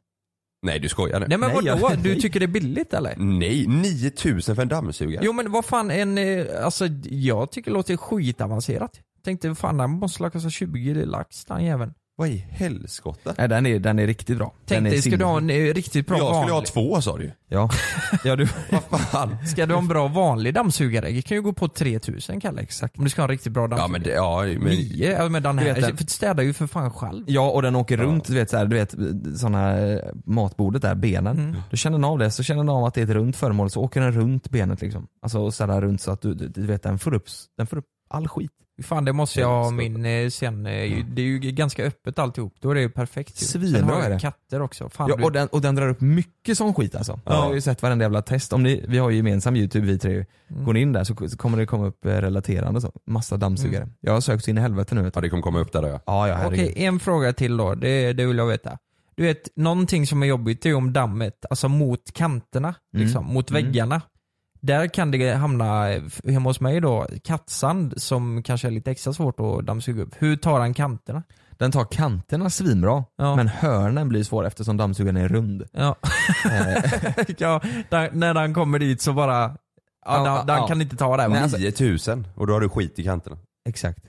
Nej du skojar nu. nej, men Nej, vadå? jag- Du nej. tycker det är billigt eller? Nej, 9000 för en dammsugare? Jo men vad fan en, eh, alltså jag tycker det låter skitavancerat. Tänkte fan den måste la kosta 20 lax den jäveln. Vad i helskotta? Nej, den, är, den är riktigt bra. Tänk den är dig, ska du ha silver. en eh, riktigt bra Jag skulle ha vanlig- två sa du ju. Ja. ja du... Vad fan? Ska du ha en bra vanlig dammsugare? Det kan ju gå på 3000 Kalle. Exakt. Om du ska ha en riktigt bra Ja dammsugare. men det, ja men... Nio? Ja, men den Du här. vet den- för städar ju för fan själv. Ja och den åker runt, du vet, så här, du vet såna, eh, matbordet där, benen. Mm. Då känner den av det, så känner den av att det är ett runt föremål så åker den runt benet liksom. Alltså och ställer runt så att du, du, du vet den får upp, den får upp all skit. Fan det måste jag ha Stopp. min eh, sen. eh, ju- Det är ju ganska öppet alltihop. Då är det ju perfekt ju. Svinbra Sen har är jag det. katter också. Fan, Ja, du- och, den, och den drar upp mycket sån skit alltså. Ja. Jag har ju sett varenda jävla test. Om ni, vi har ju gemensam youtube vi tre ju. Går ni in där så, så kommer det komma upp eh, relaterande så. Massa Mm. dammsugare. Jag har sökt så in i helvete nu vet Ja du. det kommer komma upp där ja. Ja, ja herregud. Okej, en fråga till då. Det, det vill jag veta. Du vet, någonting som är jobbigt är ju om dammet, alltså mot kanterna, liksom, mot Mm. väggarna. Där kan det hamna, eh, f- hemma hos mig då, kattsand som kanske är lite extra svårt att dammsuga upp. Hur tar han kanterna? Den tar kanterna svinbra, Ja. men hörnen blir svår eftersom dammsugaren är rund. Eh. Ja. ja, där, när han kommer dit så bara, ja, Ja, den, den ja. alltså, kan inte ta det. va? 9000 och då har du skit i kanterna. Exakt.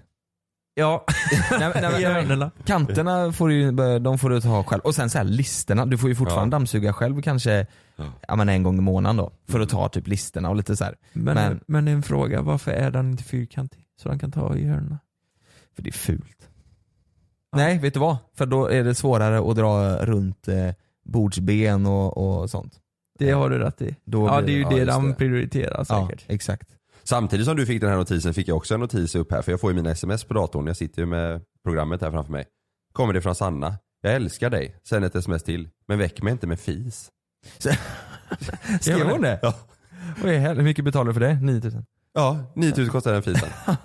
Ja, nej, men- nej, men- Hjärnorna. kanterna får ju, de får du ta själv. Och sen så här listerna, du får ju fortfarande dammsuga själv kanske ja, men en gång i månaden då. För att ta typ listerna och lite så här. Men, men, en fråga, varför är den inte fyrkantig? Så den kan ta i hörnorna. För det är fult. Nej, vet du vad? För då är det svårare att dra runt eh, bordsben och, och sånt. Det har du rätt i. Då ja blir det är ju ja, det just de prioriterar säkert. Ja, exakt. Samtidigt som du fick den här notisen fick jag också en notis upp här, för jag får ju mina sms på datorn. Jag sitter ju med programmet här framför mig. Kommer det från Sanna. Jag älskar dig. Sen ett sms till. Men väck mig inte med fis. Skrev hon det? Ja. Oj, hel- Hur mycket betalar du för det? 9000? Ja, 9000 kostar den fisen.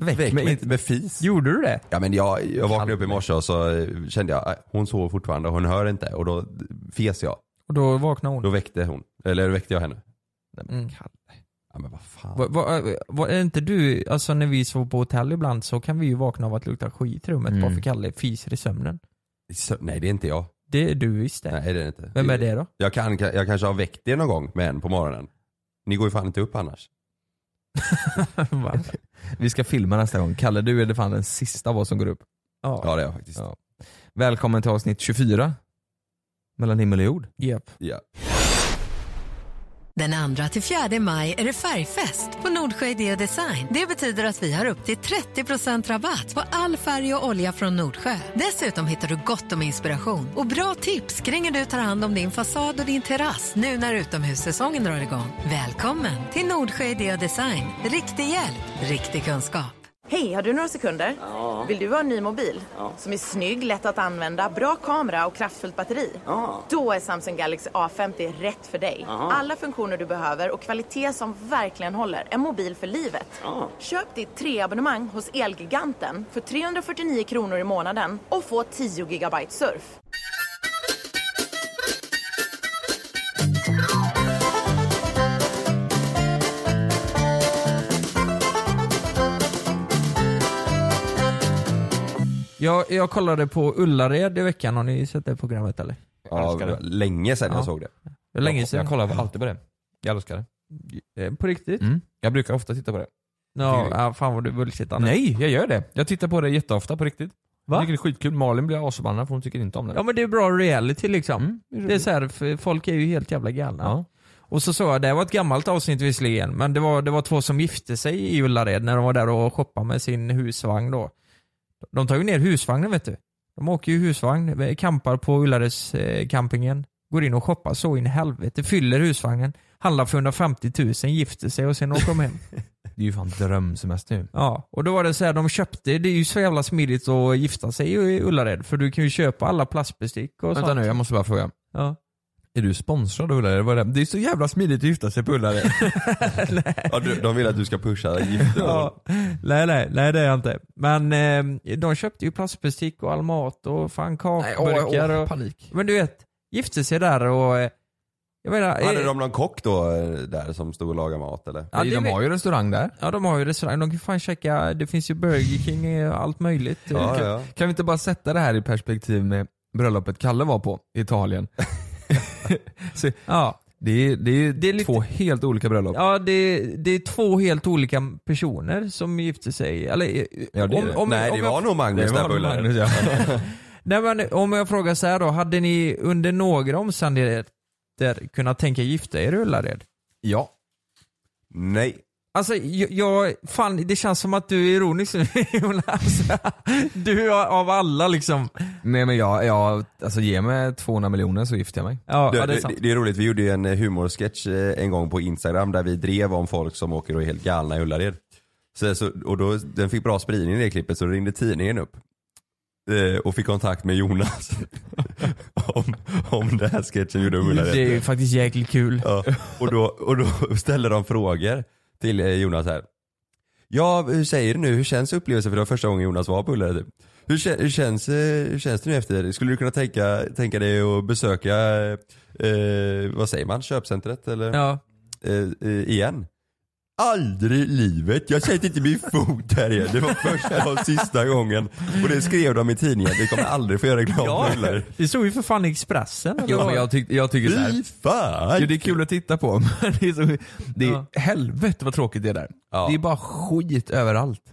Väck, mig Väck mig inte. inte med fis. Gjorde du det? Ja men jag, jag vaknade upp i morse och så eh, kände jag, eh, hon sover fortfarande, hon hör inte. Och då fes jag. Och då vaknar hon. Då väckte hon, eller väckte jag henne. Mm. Ja men vad fan. Vad- vad- vad- är inte du, alltså när vi sover på hotell ibland så kan vi ju vakna av att lukta skit i rummet Mm. bara för Kalle fiser i sömnen. Så, nej det är inte jag. Det är du visst det. Nej det är det inte. Vem är det då? Jag, kan, jag kanske har väckt er någon gång med en på morgonen. Ni går ju fan inte upp annars. Vi ska filma nästa gång. Kalle, du är det fan den sista av oss som går upp. Ja. det är jag faktiskt. Ja. Välkommen till avsnitt 24. Mellan himmel och jord. Yep. Ja. Den 2 till 4 maj är det färgfest på Nordsjö Idé Design. Det betyder att vi har upp till 30 rabatt på all färg och olja från Nordsjö. Dessutom hittar du gott om inspiration och bra tips kring hur du tar hand om din fasad och din terrass nu när utomhussäsongen drar igång. Välkommen till Nordsjö Idé Design. Riktig hjälp, riktig kunskap. Hej, har du några sekunder? Vill du ha en ny mobil? Som är snygg, lätt att använda, bra kamera och kraftfullt batteri? Då är Samsung Galaxy A50 rätt för dig. Ja. Alla funktioner du behöver och kvalitet som verkligen håller. En mobil för livet. Köp ditt treabonnemang hos Elgiganten för 349 kronor i månaden och få 10 gigabyte surf. Jag, jag kollade på Ullared i veckan, har ni sett det programmet eller? Ja, det var länge sedan jag såg det. Det var länge sedan. Jag kollar alltid på det. Jag älskar det. Eh, På riktigt? Mm. Jag brukar ofta titta på det. Ja, ja, fan vad du bullshittar nu. Nej, jag gör det. Jag tittar på det jätteofta på riktigt. Va? Jag tycker det är skitkul. Malin blir asförbannad för hon tycker inte om det. Mm, Ja men det är bra reality liksom. det är så här, för folk är ju helt jävla galna. Och så såg jag, det var ett gammalt avsnitt visserligen, men det var, det var två som gifte sig i Ullared när de var där och shoppade med sin husvagn då. De tar ju ner husvagnen vet du. De åker ju husvagn, eh, campar på Ullareds eh, campingen, går in och shoppar så in i helvete, fyller husvagnen, handlar för 150 000, gifter sig och sen åker de hem. Det är ju fan drömsemester ju. Ja, och då var det så här, de köpte, det är ju så jävla smidigt att gifta sig i Ullared för du kan ju köpa alla plastbestick och Vänta sånt. nu, jag måste bara fråga. Ja. Är du sponsrad av Ullared? Vad är det? Det är så jävla smidigt att gifta sig på Ullared. Ja, du, de vill att du ska pusha giftermål. Ja. Nej, nej, nej det är jag inte. Men eh, de köpte ju plastbestick och all mat och fan kakburkar. åh, åh, och, Men du vet, gifte sig där och... eh, Jag menar, Hade eh, de någon kock då eh, där som stod och lagade mat eller? Ja, det De vet- har ju restaurang där. Ja de har ju restaurang, de kan fan checka, det finns ju Burger King och allt möjligt. kan, kan vi inte bara sätta det här i perspektiv med bröllopet Kalle var på i Italien? så, ja. det, är, det, är två helt olika bröllop. Ja, det, det är två helt olika personer som gifte sig. Eller, eh, Nej det jag- var nog Magnus där på Ullared. Nej men om jag frågar så här då, hade ni under några omständigheter kunnat tänka gifta er i Ullared? Ja. Nej. Alltså jag, jag, fan det känns som att du är ironisk nu Jonas. Du har- av alla liksom. Nej men jag, jag, alltså ge mig 200 miljoner så gifter jag mig. Ja, Du, det, det är roligt, vi gjorde ju en eh, humorsketch eh, en gång på instagram där vi drev om folk som åker och är helt galna i Ullared. Så, så, och då, den fick bra spridning i det klippet så ringde tidningen upp. eh, Och fick kontakt med Jonas. om, om den här sketchen gjorde om Ullared. Mm, Det är ju faktiskt jäkligt kul. Ja, och, då, och då ställer de frågor till eh, Jonas här. Ja, hur säger du nu? Hur känns upplevelsen? För det var första gången Jonas var på Ullared. typ. Hur, kä- hur, känns, eh, hur känns det nu efter? det? Skulle du kunna tänka, tänka dig att besöka, eh, vad säger man, köpcentret eller? Ja. Eh, eh, igen? Aldrig i livet. Jag sätter inte min fot här igen. Det var första och sista gången. Och det skrev de i tidningen. Vi kommer aldrig få göra reklam Ja, för Ullared. det såg ju för fan i Expressen. eller Ja, vad? men jag, tyck, jag tycker såhär. Fy fan! Jo, det är kul att titta på men det är, så, det är Ja. helvete vad tråkigt det är där. Ja. Det är bara skit överallt.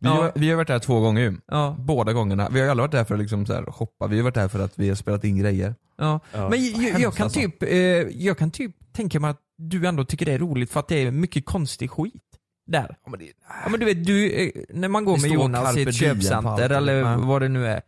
Vi, har, vi har varit där två gånger ju. Båda gångerna. Vi har ju aldrig varit där för att liksom så här hoppa, vi har varit där för att vi har spelat in grejer. alltså. Ja. Men jag, jag, kan typ, eh, jag kan typ tänka mig att du ändå tycker det är roligt för att det är mycket konstig skit. Där. Ja, men, du vet, du, eh, när man går Det med står Jonas i carpe ett diem på köpcenter allting. eller Ja. vad det nu är.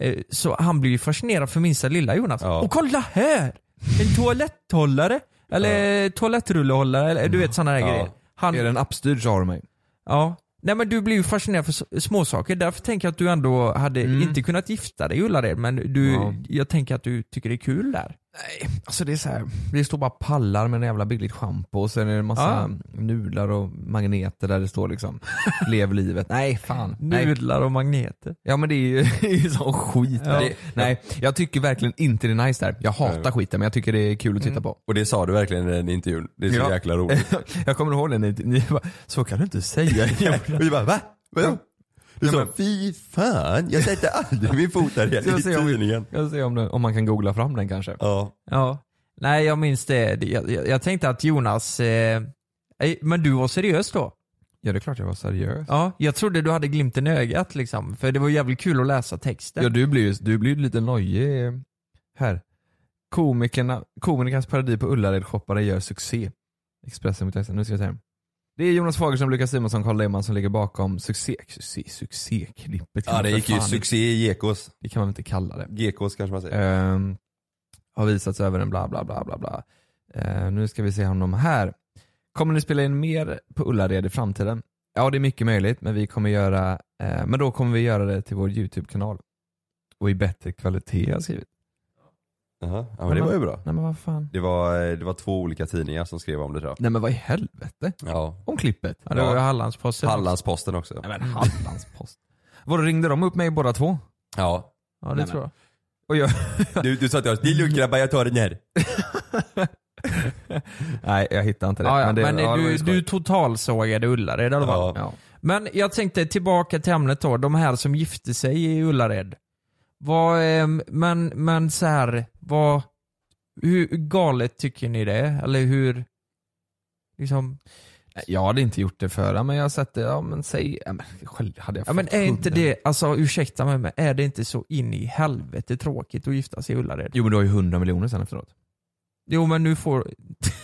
eh, Så han blir ju fascinerad för minsta lilla Jonas. Och kolla här! En toaletthållare. Eller toalettrullehållare. Eller, du vet sådana där Ja. grejer. Han, Är det en appstyrd så har du mig. Ja. Nej men du blir ju fascinerad för s- småsaker. Därför tänker jag att du ändå hade inte kunnat gifta dig i Ullared. Men du, Mm. Ja. jag tänker att du tycker det är kul där. Alltså det är så här, det står bara pallar med en jävla billigt schampo och sen är det en massa nudlar och magneter där det står liksom Lev livet. Nej fan. Nej. Nudlar och magneter. Ja men det är ju, det är ju sån skit. Ja. Det, nej, jag tycker verkligen inte det är nice där. Jag hatar Nej. skiten men jag tycker det är kul att titta Mm. på. Och det sa du verkligen i den intervjun. Det är så Ja. jäkla roligt. jag kommer ihåg det ni, ni bara, så kan du inte säga. och vi bara va? Vadå? Du sa fy fan, jag sätter aldrig min fot där Så igen i jag ser om- tidningen. Jag ser om, det, om man kan googla fram den kanske. Ja. Ja. Nej jag minns det. Det- Jag, jag, jag tänkte att Jonas... Eh, eh, men du var seriös då? Ja det är klart jag var seriös. Ja, jag trodde du hade glimten i ögat liksom. För det var jävligt kul att läsa texten. Ja du blir ju du blir ju lite nojig eh, här. Komikerna, komikernas paradis på Ullared-shoppare gör succé. Expressen.se, nu ska jag se här. Det är Jonas Fagerström, Lukas Simonsson, Carl Lehmann som ligger bakom succé, succé, succéklippet. Ja det gick ju Fan, succé i Gekås. Det kan man inte kalla det. Gekås kanske man säger. Ehm, har visats över en bla bla bla bla bla. Ehm, nu ska vi se honom här. Kommer ni spela in mer på Ullared i framtiden? Ja det är mycket möjligt men vi kommer göra, eh, men då kommer vi göra det till vår YouTube-kanal. Och i bättre kvalitet har jag skrivit. Jaha, Ja Mm. men det var ju bra. Nej men vad fan. Det var, eh, det var två olika tidningar som skrev om det tror jag. Nej men vad i helvete? Ja. Om klippet? Ja, det var ju Hallandsposten också. Hallandsposten också. Nej men Hallandspost. Vadå ringde de upp mig båda två? Ja. Ja det Nej, tror jag. Och jag, Du, du sa till oss, det är lugnt grabbar jag tar den här. nej jag hittar inte det. Ja, ja, men men det, ja, det var du, ju skoj. du totalsågade Ullared i alla fall. Ja. Men jag tänkte tillbaka till ämnet då, de här som gifte sig i Ullared. Vad, ehm, men, men så här, vad, hur galet tycker ni det? Eller hur, liksom, Jag hade inte gjort det förra men jag har sett det, ja men säg, ja, men, själv hade jag ja fått men är inte hundra. det, alltså ursäkta mig men är det inte så in i helvete tråkigt att gifta sig i Ullared? Jo men du har ju 100 miljoner sen efteråt. Jo men nu får,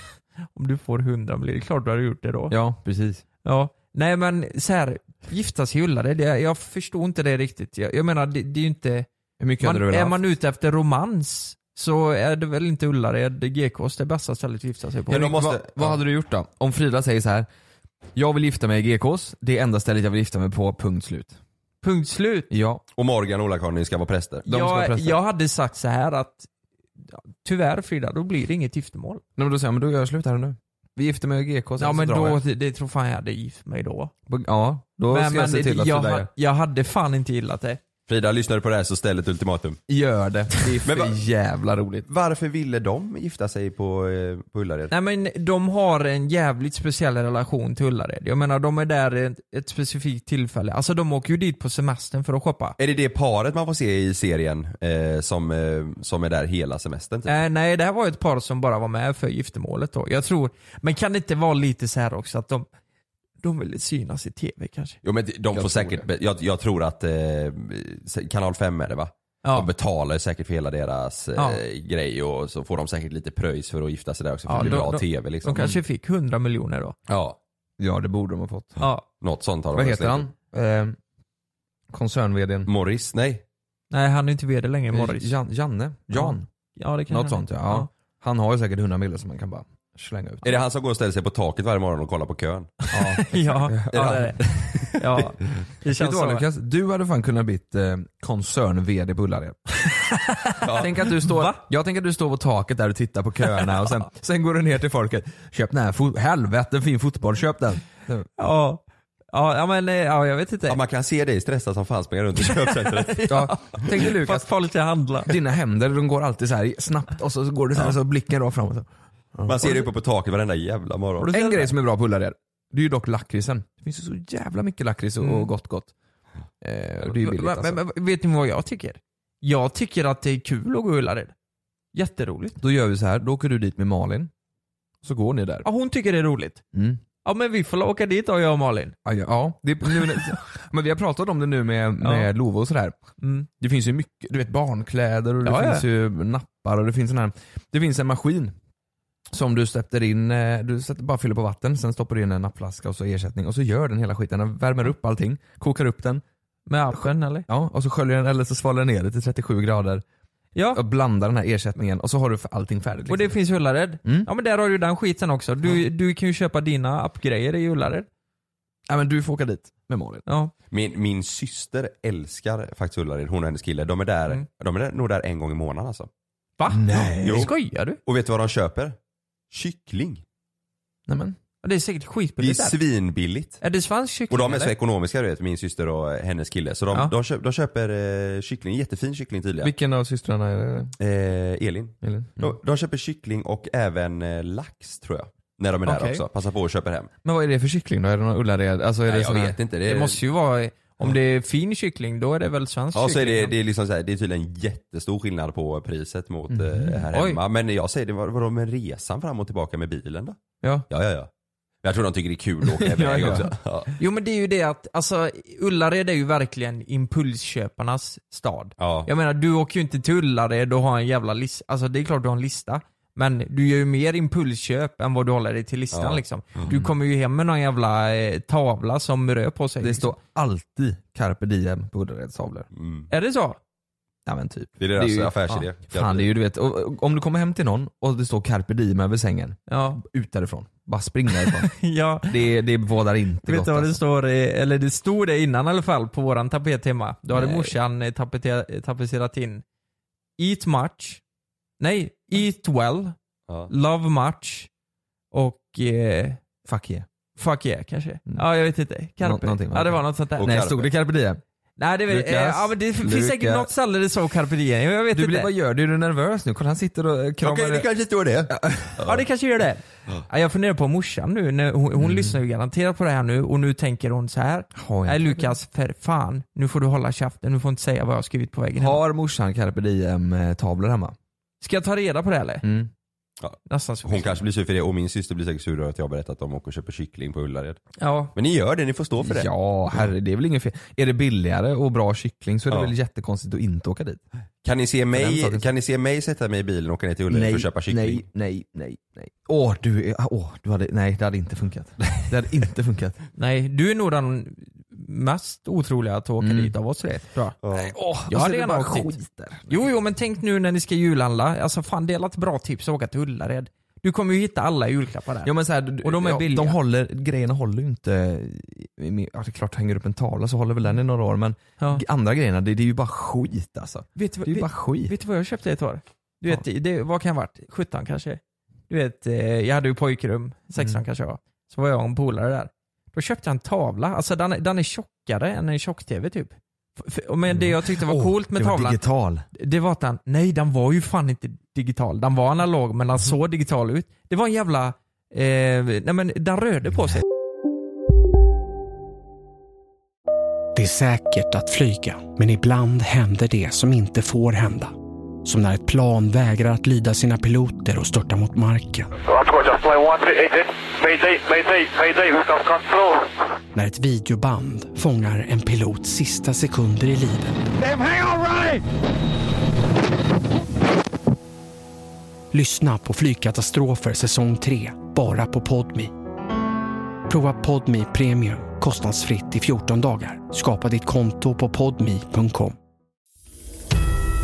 om du får 100 miljoner, det är klart du har gjort det då. Ja precis. Ja, nej men så här, gifta sig i Ullared, det, jag förstår inte det riktigt. Jag, jag menar, det, det är ju inte... Hur mycket man, hade du velat Är haft? man ute efter romans så är det väl inte Ullared, GKs, det bästa stället att gifta sig på. Henrik, vad, vad hade du gjort då? Om Frida säger så här. jag vill gifta mig i GKs, det är enda stället jag vill gifta mig på, punkt slut. Punkt slut. Ja. Och Morgan och Ola-Karin ska vara präster. De ska vara Jag, präster. jag hade sagt så här att ja, tyvärr Frida, då blir det inget giftermål. Nej, men då säger jag, men då gör jag slut här och nu. Vi gifter mig i GKs, Ja sen men så då, drar jag. det, det tror fan jag hade gift mig då. Ja, då men, ska jag se men till att jag, Frida ha- gör. jag hade fan inte gillat det. Frida, lyssnar du på det här så ställ ett ultimatum. Gör det, det är för Men va- jävla roligt. Varför ville de gifta sig på, eh, på Ullared? Nej men de har en jävligt speciell relation till Ullared. Jag menar de är där i ett, ett specifikt tillfälle. Alltså de åker ju dit på semestern för att shoppa. Är det det paret man får se i serien eh, som, eh, som är där hela semestern? Typ? Eh, nej, det här var ju ett par som bara var med för giftermålet då. Jag tror, men kan det inte vara lite så här också att de, de ville synas i tv kanske? Jo men de får tror säkert, jag, jag tror att eh, kanal 5 är det va? Ja. De betalar ju säkert för hela deras eh, Ja. grej och så får de säkert lite pröjs för att gifta sig där också för Ja, det blir de- bra de- tv liksom. De kanske fick 100 miljoner då. Ja, Ja det borde de ha fått. Ja. något sånt har de Vad väl heter säkert. han? Eh, Koncern-VDn? Eh, Morris? Nej. Nej, han är inte vd längre, Morris. Jan, Janne? Jan? Ja, det kan Något han- sånt ja. ja. Han har ju säkert 100 miljoner som man kan bara slänga ut. Är det han som går och ställer sig på taket varje morgon och kollar på kön? Ja. Ja, ja, det är det. Ja, det Vet känns du vad så. Lukas? Du hade fan kunnat bli eh, koncern-VD på Ullared. Tänk att du står, jag tänker att du står på taket där och tittar på köerna och sen, sen går du ner till folket. Köp den här, fo- helvete fin fotboll, köp den. Ja. Ja, ja, men eh, ja, jag vet inte. Ja, man kan se dig stressad som fan springa runt i köpcentret. Ja. Tänk dig Fast Lukas, folk ska handla. dina händer de går alltid så här snabbt och så går du så här så blicken rakt framåt. Man ser dig uppe på taket varenda jävla morgon. En grej som är bra på Ullared, det är ju dock lakritsen. Det finns ju så jävla mycket lakrits och och gott gott. Eh, och det är ju billigt Mm. Men- alltså. men, men, Vet ni vad jag tycker? Jag tycker att det är kul att gå i Ullared. Jätteroligt. Då gör vi så här, då åker du dit med Malin. Så går ni där. Ja, hon tycker det är roligt. Mm. Ja men vi får åka dit då jag och Malin. Ja, ja, ja. Det, nu, men vi har pratat om det nu med, med Love och sådär. Det finns ju mycket, du vet barnkläder och det Mm. Ja, ja. finns ju nappar och det finns en, här, det finns en maskin som du sätter in, eh, du sätter, bara fyller på vatten, sen stoppar du in en nappflaska och så ersättning och så gör den hela skiten. Den värmer upp allting, kokar upp den. Med appen eller? Ja, och så sköljer den eller så svalde den ner det till 37 grader. Ja. Och blandar den här ersättningen och så har du för allting färdigt. Och det liksom. finns i Ullared. Mm. Ja men där har du den skiten också. Du, du kan ju köpa dina appgrejer i Ullared. Ja men du får åka dit med Malin. Ja. Min, min syster älskar faktiskt Ullared, hon och hennes kille. De är, där, Mm. de är där, nog där en gång i månaden alltså. Va? Nej. Jo. Skojar du? Och vet du vad de köper? Kyckling. Nej, men. Ja, Det är säkert Det är skitbilligt där. svinbilligt. Är det svensk kyckling Och de är så eller? ekonomiska du vet, min syster och hennes kille. Så de, Ja. de, köper, de köper eh, kyckling, jättefin kyckling tydligen. Vilken av systrarna är det? Eh, Mm. Elin. Elin. De, de köper kyckling och även eh, lax tror jag. När de är där Okej. också. Passar på och köper hem. Men vad är det för kyckling då? Är det någon Ullared? Alltså är Nej, det jag sån här- vet inte. Det, Det måste ju vara, om det är fin kyckling då är det väl svensk Ja, så är kyckling? det, det, är liksom så här, det är tydligen jättestor skillnad på priset mot eh, här Oj. hemma. Men jag säger det, vad- vadå med resan fram och tillbaka med bilen då? Ja. Ja, ja, ja. Jag tror de tycker det är kul att åka Ja, iväg ja. också. Ja. Jo men det är ju det att, alltså Ullared är ju verkligen impulsköparnas stad. Ja. Jag menar du åker ju inte till Ullared och har en jävla lista, alltså det är klart du har en lista. Men du gör ju mer impulsköp än vad du håller dig till listan Ja. liksom. Mm. Du kommer ju hem med någon jävla eh, tavla som rör på sig. Det liksom. står alltid carpe diem på Ullareds tavlor. Mm. Är det så? Ja men typ. Det är deras ju- affärsidé. Ja. Fan det är ju du vet, och, och, om du kommer hem till någon och det står carpe diem över sängen, Ja. ut därifrån. Bara spring därifrån. ja. det, det bådar inte Vet gott du vad det alltså. står, eh, eller det stod det innan i alla fall på våran tapet hemma. Då hade Nej. morsan eh, tapete- eh, tapetserat in Eat much, nej, eat well, Ja. love much och eh, Fuck yeah. fuck yeah kanske. Ja jag vet inte, Nå- carpe. någonting var ja det det. var något sånt där. Och Nej carpe. stod det carpe diem? Nej det, är väl, eh, Lukas, ja, men det finns säkert Lukas. något ställe det står carpe diem, jag vet Du, blir- inte. vad gör du? Är du nervös nu? Kolla han sitter och eh, kramar... Okej, det kanske står det. Ja det kanske gör det. Ja, jag funderar på morsan nu, när hon, hon lyssnar ju garanterat på det här nu och nu tänker hon så här. Mm. Har jag- Nej Lukas, för fan. Nu får du hålla käften, nu får du inte säga vad jag har skrivit på väggen. hemma. Har morsan carpe diem eh, tavlor hemma? Ska jag ta reda på det eller? Mm. Nästan så. Hon kanske blir sur för det och min syster blir säkert sur över att jag har berättat att de åker och köper kyckling på Ullared. Ja. Men ni gör det, ni får stå för det. Ja, herre, det är väl inget fel. Är det billigare och bra kyckling så är det Ja. väl jättekonstigt att inte åka dit. Kan, ni se den mig, saken. kan ni se mig sätta mig i bilen och åka ner till Ullared för att köpa kyckling? nej, nej, nej, nej. Åh, du, är- ah, åh, du hade, nej det hade inte funkat. Det hade inte funkat. Nej, du är nog den mest otroliga att åka Mm. dit av oss tre. tror jag. Ja. Åh, och Jag så hade är det gärna bara åkt dit. skit där. Jo, jo, men tänk nu när ni ska julhandla. Alltså fan, dela ett bra tips att åka till Ullared. Du kommer ju hitta alla julklappar där. Ja, men så här, du- Och de är ja, billiga. De håller, grejerna håller ju inte, i- i- ja, det är klart hänger upp en tavla så håller väl den i några år men Ja. g- andra grejerna det, det är ju bara skit alltså. Vet, du Det är vad- ju bara vet, skit. vet du vad jag köpte ett år? Du vet, det, vad kan jag ha varit? 17 kanske? Du vet, eh, jag hade ju pojkrum, 16 Mm. kanske jag var. Så var jag och en polare där. Då köpte jag en tavla, alltså den, den är tjockare än en tjock-tv typ. F- f- Men det jag tyckte var Mm. Åh, coolt med det var tavlan, digital. det var att den, nej den var ju fan inte digital. Den var analog men den Mm. såg digital ut. Det var en jävla, eh, nej men den rörde på sig. Det är säkert att flyga, men ibland händer det som inte får hända. Som när ett plan vägrar att lyda sina piloter och störtar mot marken. När ett videoband fångar en pilots sista sekunder i livet. Lyssna på Flygkatastrofer säsong 3, bara på Podmi. Prova Podmi Premium kostnadsfritt i 14 dagar. Skapa ditt konto på podmi.com.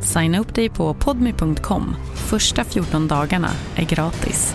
Signa upp dig på podmi.com. Första 14 dagarna är gratis.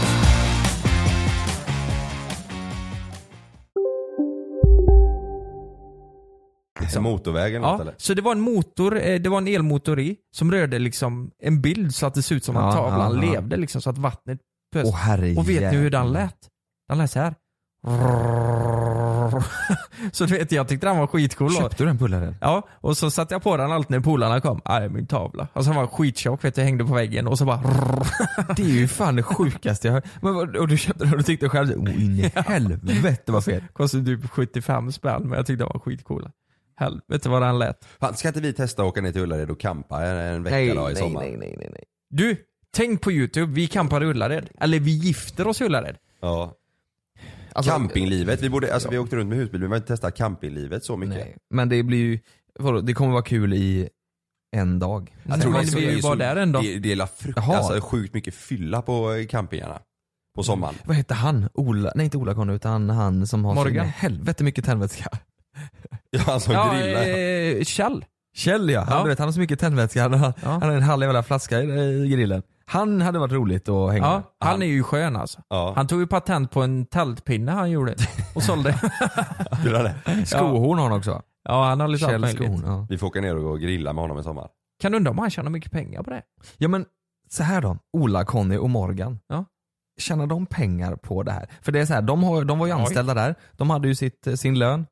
Motorvägen Liksom. Ja, något, eller? så det var en motor, eh, det var en elmotor i, som rörde liksom en bild så att det såg ut som att Ja, tavlan ja, ja. levde liksom, så att vattnet pös. Åh, herre och vet ni hur den jävlar. lät? Den lät så här. Så du vet, jag tyckte den var skitcool. Köpte du den pullaren? Ja, och så satte jag på den alltid när polarna kom. Nej, min tavla. Alltså den var skittjock vet du, hängde på väggen och så bara Det är ju fan det sjukaste jag hört. Men, vad- och du köpte den och du tyckte själv så, oh, in i helvete vad fet. Kostade typ 75 spänn men jag tyckte de var skitcoola. Helvete vad den lät. Fan, ska inte vi testa att åka ner till Ullared och campa en, en vecka Nej, då i nej, sommar? nej, nej, nej. Du, tänk på youtube, vi campar i Ullared. Eller vi gifter oss i Ullared. Ja. Alltså- campinglivet, vi, borde, alltså, vi åkte runt med husbil, vi behöver inte testa campinglivet så mycket. Men det blir ju, vadå, det kommer vara kul i en dag. Jag tror men det är vi är ju så- bara där en dag. Det, det är la frukt, Jaha. alltså, sjukt mycket fylla på campingarna. På sommaren. Mm. Vad hette han? Ola, nej inte Ola Conny utan han som har Morgan. så in i helvete mycket tändvätska. Ja, alltså, han som Ja, grillar. eh, Kjell. Kjell ja, han, Ja. Du vet, han har så mycket tändvätska, han har, han har en halv jävla flaska i, i grillen. Han hade varit roligt att hänga med. Ja, han är ju skön alltså. Han tog ju patent på en tältpinne han gjorde och sålde. Skohorn har han också. Ja, han har lite allt Kjell möjligt. Skohorn, ja. Vi får åka ner och grilla med honom i sommar. Kan du undra om han tjänar mycket pengar på det? Ja men så här då, Ola, Conny och Morgan. Ja. Tjänar de pengar på det här? För det är så här, de, har, de var ju anställda där, de hade ju sitt, eh, sin lön.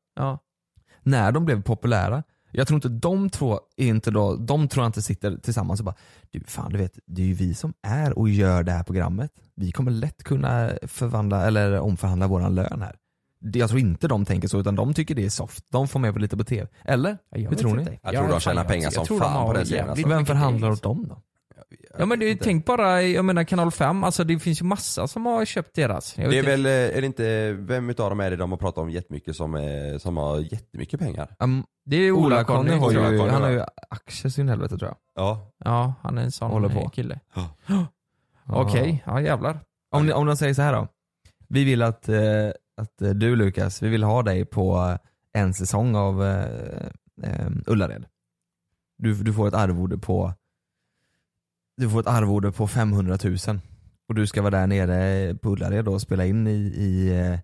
När de blev populära, jag tror inte de två, är inte då, de tror jag inte sitter tillsammans och bara du fan du vet, det är ju vi som är och gör det här programmet. Vi kommer lätt kunna förvandla eller omförhandla våran lön här. Det- Jag tror inte de tänker så utan de tycker det är soft. De får med på lite på TV. Eller? Hur vet tror ni? inte. Jag tror de tjänar pengar som fan på den serien, alltså. Vem förhandlar åt dem då? Ja men du, tänk bara, jag menar kanal 5, alltså det finns ju massa som har köpt deras. Jag vet Det är inte. väl, eh, är det inte, vem utav dem är det de har pratat om jättemycket som, eh, som har jättemycket pengar? Um, det är ju Ola Conny har Ola Conny, ju, han har va? ju aktier sin helvete tror jag. Ja. Ja, han är en sån Håller på. kille. Ja. Okej, ja jävlar. Om, ni, om de säger så här då. Vi vill att, eh, att eh, du Lukas, vi vill ha dig på eh, en säsong av eh, eh, Ullared. Du, du får ett arvode på du får ett arvode på 500 000 och du ska vara där nere på Ullared då och spela in i, i eh,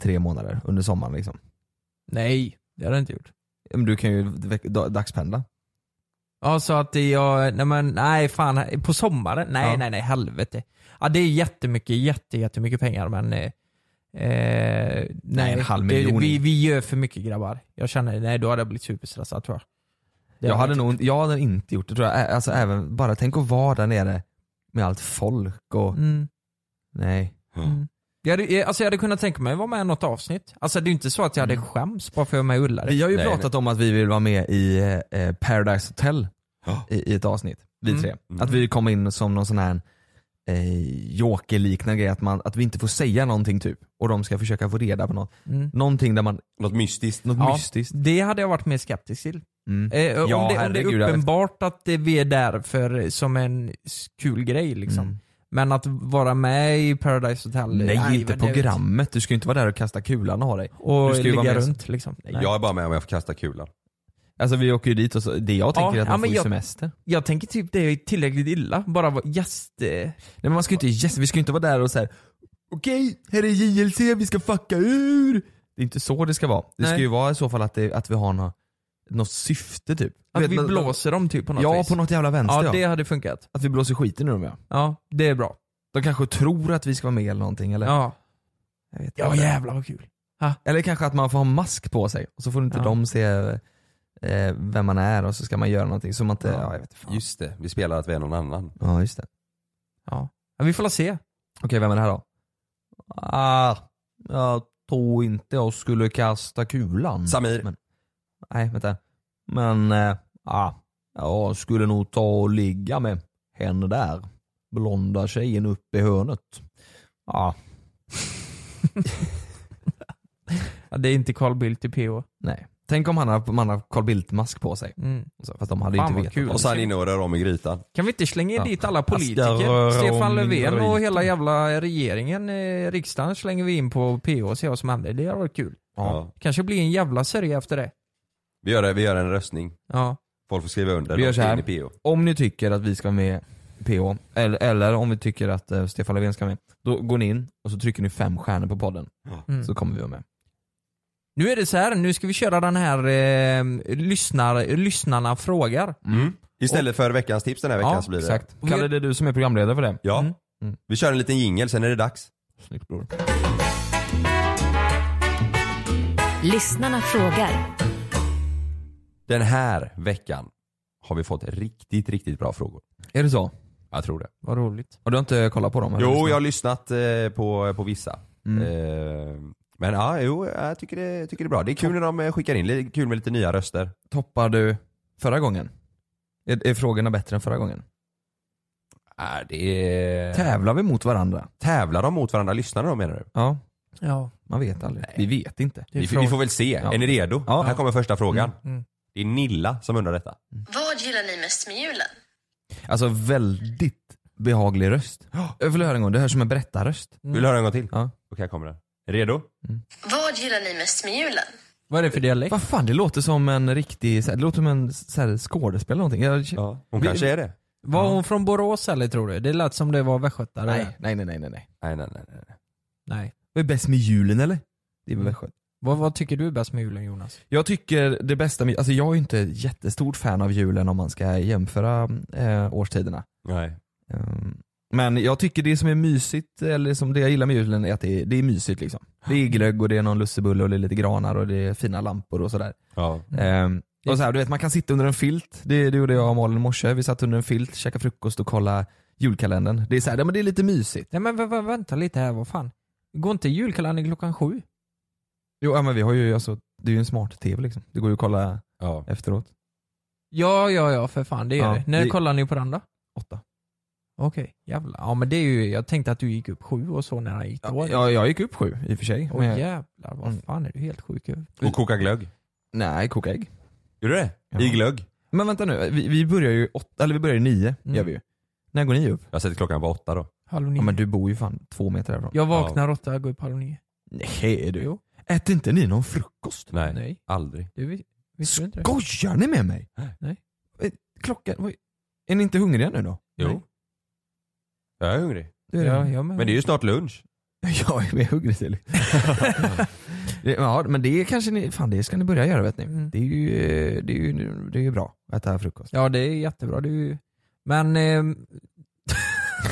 tre månader under sommaren liksom. Nej, det har jag inte gjort. Ja, Men du kan ju veck- dag- dagspendla. Ja, så att det jag, nej men nej fan, på sommaren? Nej, Ja. nej, nej, helvete. Ja det är jättemycket, jätte, jättemycket pengar men eh, eh, nej, en halv det, miljon. vi, vi gör för mycket grabbar. Jag känner, nej då hade jag blivit superstressad tror jag. Det Jag hade hade, nog, jag hade inte gjort det tror jag. Ä- Alltså, även, bara tänk att vara där nere med allt folk och... Mm. Nej. Jag hade, eh, alltså jag hade kunnat tänka mig att vara med i något avsnitt. Alltså det är ju inte så att jag hade skämts bara för att jag är med i Ullared. Mm. Vi har ju Nej, pratat om att vi vill vara med i eh, Paradise Hotel i, i ett avsnitt. Vi Mm. tre. Mm. Att vi kommer in som någon sån här eh, joker-liknande grej. Att, man, att vi inte får säga någonting typ. Och de ska försöka få reda på något. Mm. Någonting där man... Något mystiskt. Något Ja, mystiskt. Det hade jag varit mer skeptisk till. Mm. Eh, Ja, om, det, om det herregud, är jag vet. uppenbart att det- vi är där för, som en s- kul grej liksom. Men att vara med i Paradise Hotel? Mm. Nej, inte men det- programmet. Du ska ju inte vara där och kasta kulan och ha dig. Och du ska ju vara ligga med- runt liksom. Nej. Jag är bara med om jag får kasta kulan. Alltså vi åker ju dit och så, det jag tänker är att man men får ju jag- semester. Jag tänker typ det är tillräckligt illa, bara vara gäst. eh. Nej men man ska ju inte gäst, vi ska ju inte vara där och såhär Okej, här är JLC, vi ska fucka ur! Det är inte så det ska vara. Det ska Nej. ju vara i så fall att, det, att vi har något, något syfte typ. Du Att vet, vi nå- blåser dem typ på något Ja, vis. på något jävla vänster Ja, det hade funkat. Att vi blåser skiten ur dem ja. Ja, det är bra. De kanske tror att vi ska vara med eller någonting eller? Ja. Jag vet Ja inte. jävlar vad kul. Eller kanske att man får ha mask på sig och så får inte Ja. de se eh, vem man är och så ska man göra någonting som man inte, ja, jag vet inte. Just det, vi spelar att vi är någon annan. Ja just det. Ja. Ja, vi får la se. Okej, vem är det här då? Ah, jag tror inte jag skulle kasta kulan. Samir. Mm. Men, nej, vänta. Men, eh, ah, jag skulle nog ta och ligga med henne där. Blonda tjejen uppe i hörnet. Ja. Ah. Ja, det är inte Carl Bildt i PO. Nej. Tänk om han hade, man hade Carl Bildt-mask på sig. Mm. Så, för att de hade Fan, ju vad inte kul. vetat. Och sen inne och rör om i grytan. Kan vi inte slänga in Ja. dit alla Jag ska politiker? röra Stefan om min Löfven och gryta. hela jävla regeringen, eh, riksdagen slänger vi in på PO och ser vad som händer. Det hade varit kul. Ja. Kanske blir en jävla sörja efter det. Vi, gör, det- vi gör en röstning. Ja. Folk får skriva under. Vi gör De så ska in i här. PO. om ni tycker att vi ska vara med i PO, eller, eller om vi tycker att eh, Stefan Löfven ska vara med, då går ni in och så trycker ni fem stjärnor på podden. Mm. Så kommer vi vara med. Nu är det så här, nu ska vi köra den här eh, lyssnar, lyssnarna frågar. Mm. Istället för veckans tips den här veckan Ja, så blir det. Exakt. Kalle, det är du som är programledare för det. Ja. Mm. Vi kör en liten jingel, sen är det dags. Snyggt bror. Lyssnarna frågar. Den här veckan har vi fått riktigt, riktigt bra frågor. Är det så? Jag tror det. Vad roligt. Och du har inte kollat på dem? eller? Jo, jag har lyssnat eh, på, på vissa. Mm. Eh, Men ja, jo, jag tycker det, tycker det är bra. Det är kul när de eh, skickar in, det är kul med lite nya röster. Toppar du förra gången? Är, är frågorna bättre än förra gången? Nej, det är... Tävlar vi mot varandra? Tävlar de mot varandra? Lyssnar de menar du? Ja, Ja. man vet aldrig. Vi vet inte. Vi, får- vi får väl se. Ja. Är ni redo? Ja. Här kommer första frågan. Mm, mm. Det är Nilla som undrar detta. Vad gillar ni mest med julen? Alltså väldigt behaglig röst. Jag vill höra en gång, det hörs som en berättarröst. Vill du höra en gång till? Mm. Ja. Okej, här kommer den. Redo? Vad gillar ni mest med julen? Vad är det för dialekt? Vad fan, det låter som en riktig, så här- det låter som en så här, skådespelare eller någonting. Jag, Ja, hon kanske är det. Var Ja. hon från Borås eller tror du? Det lät som det var västgötare. Nej, nej, nej, nej, nej, nej. Nej, nej, nej. nej. Nej. Mm. Vad är bäst med julen eller? Det är väl skönt. Vad, vad tycker du är bäst med julen Jonas? Jag tycker det bästa med, alltså jag är ju inte ett jättestort fan av julen om man ska jämföra eh, årstiderna. nej. Ehm, men jag tycker det som är mysigt, eller som det jag gillar med julen är att det är, det är mysigt liksom. Det är glögg och det är någon lussebulle och det är lite granar och det är fina lampor och sådär. Ja. Mm. Ehm, och så här, du vet man kan sitta under en filt, det, det gjorde jag och Malin i morse. Vi satt under en filt, käkade frukost och kollade julkalendern. Det är så här, ja, men det är lite mysigt. Nej men vä- vä- vänta lite här, vad fan? Går inte julkalendern klockan sju? Jo ja, men vi har ju, alltså, det är ju en smart-tv liksom. Det går ju att kolla Ja. efteråt. Ja, ja, ja för fan det gör Ja, det. När det- kollar ni på den då? Åtta. Okej, jävlar. Ja men det är ju, jag tänkte att du gick upp sju och så när han gick då. Ja, jag gick upp sju i och för sig. Åh men jag- jävlar, vad fan är du helt sjuk i huvudet? Och koka glögg. Nej, koka ägg. Gjorde du det? I glögg? Men vänta nu, vi, vi börjar ju åtta, eller vi börjar ju nio, Mm. gör vi ju. När går ni upp? Jag sätter klockan på åtta då. Halv nio. Ja men du bor ju fan två meter härifrån. Jag vaknar åtta, går upp halv nio. Nej du. Äter inte ni någon frukost? Nej, Nej, aldrig. du vis- visste du inte det? Gojar ni med mig? Nej. Eh, Klockan, vad- är ni inte hungriga nu då? Jo. Nej. Jag är hungrig. Det är Ja, det. jag Men det är ju snart lunch. Jag är mer hungrig till. Det- ja men det kanske ni, fan det ska ni börja göra vet ni. Mm. Det är ju, eh, det är ju, det är ju bra att äta frukost. Ja det är jättebra, det är ju... Men... ehm,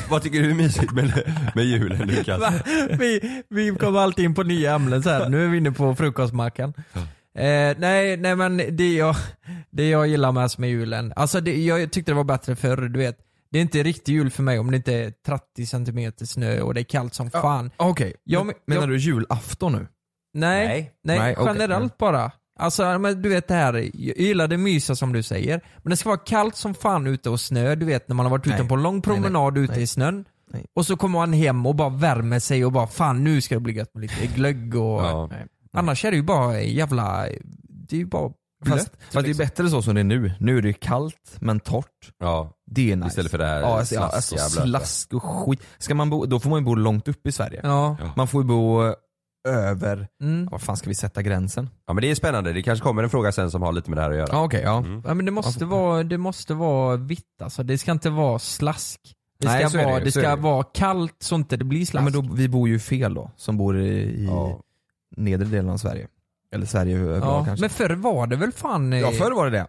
Vad tycker du är mysigt med, med julen Lukas? Va? vi, vi kommer alltid in på nya ämnen så här. nu är vi inne på frukostmackan. Eh, nej, nej men det jag, det jag gillar mest med julen, alltså det, jag tyckte det var bättre förr, du vet. Det är inte riktig jul för mig om det inte är 30 cm snö och det är kallt som fan. Okej, Ja, men- men- menar jag- du julafton nu? Nej, nej, Nej. Nej, okej. generellt bara. Alltså men du vet det här, jag gillar det mysa som du säger. Men det ska vara kallt som fan ute och snö, du vet när man har varit ute Nej. på en lång nej, promenad ute nej. i snön. Nej. Och så kommer man hem och bara värmer sig och bara fan nu ska det bli gött med lite glögg och... Ja. Nej. Annars är det ju bara jävla... Det är ju bara blött. Fast, typ, liksom. fast det är bättre så som det är nu. Nu är det ju kallt men torrt. Ja, Det är nice. Istället för det här ja, alltså, ja, alltså, slaskiga, blöta. slask och skit. Ska man bo, då får man ju bo långt upp i Sverige. Ja. Man får ju bo över, Mm. var fan ska vi sätta gränsen? ja men det är spännande. Det kanske kommer en fråga sen som har lite med det här att göra. Ja okej, Mm. ja. ja men det måste, vara, det måste vara vitt alltså. Det ska inte vara slask. Det ska, Nej, så är det vara, ju, det, så är ska det ju. vara kallt så inte det blir ja slask. men då, vi bor ju fel då, som bor i, i Ja. nedre delen av Sverige. Eller Sverige överlag Ja, kanske. men förr var det väl fan eh, ja förr var det det.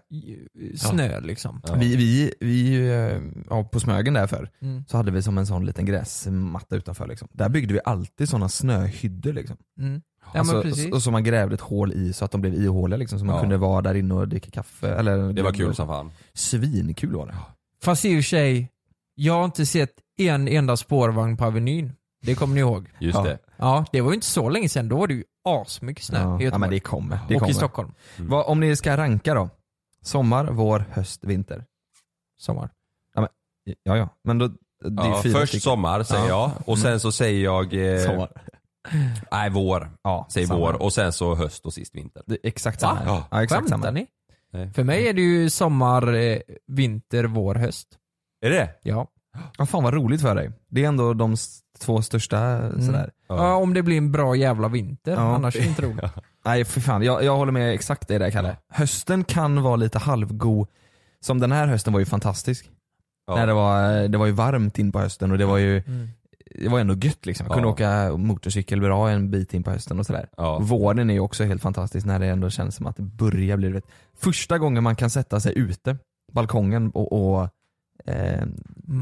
snö liksom. Ja. Vi, vi, vi eh, ja, på Smögen där förr, Mm. så hade vi som en sån liten gräsmatta utanför. Liksom. Där byggde vi alltid sådana snöhyddor. Liksom. Mm. Ja, men Alltså, precis. och som man grävde ett hål i så att de blev ihåliga liksom, så man Ja. kunde vara där inne och dricka kaffe. Eller, Det var kul som fan. Svinkul var det. Fast i och för sig, jag har inte sett en enda spårvagn på Avenyn. Det kommer ni ihåg? Just Ja. det. Ja, det var ju inte så länge sedan. Då var det ju asmycket snö Ja. i ja men Göteborg. det kommer. Det och kommer. i Stockholm. Vad, om ni ska ranka då? Sommar, vår, höst, vinter? Sommar. Ja ja, men då, det är Ja, fyra först stycken. sommar säger Ja. jag och sen så säger jag eh, Sommar. Nej, vår. Ja, Säg samma. vår och sen så höst och sist vinter. exakt samma. Ja, Ja, exakt samma. ni? För mig är det ju sommar, eh, vinter, vår, höst. Är det Ja. Ja, fan vad roligt för dig. Det är ändå de s- två största sådär. Mm. Ja. om det blir en bra jävla vinter, Ja. annars är det inte roligt. Nej för fan, jag, jag håller med exakt det där Kalle. Hösten kan vara lite halvgo som den här hösten var ju fantastisk. När det, var, det var ju varmt in på hösten och det var ju Mm. Det var ändå gött liksom. Jag kunde Ja. åka motorcykel bra en bit in på hösten och sådär. Våren är ju också helt fantastisk när det ändå känns som att det börjar bli, du vet, första gången man kan sätta sig ute, balkongen och, och eh,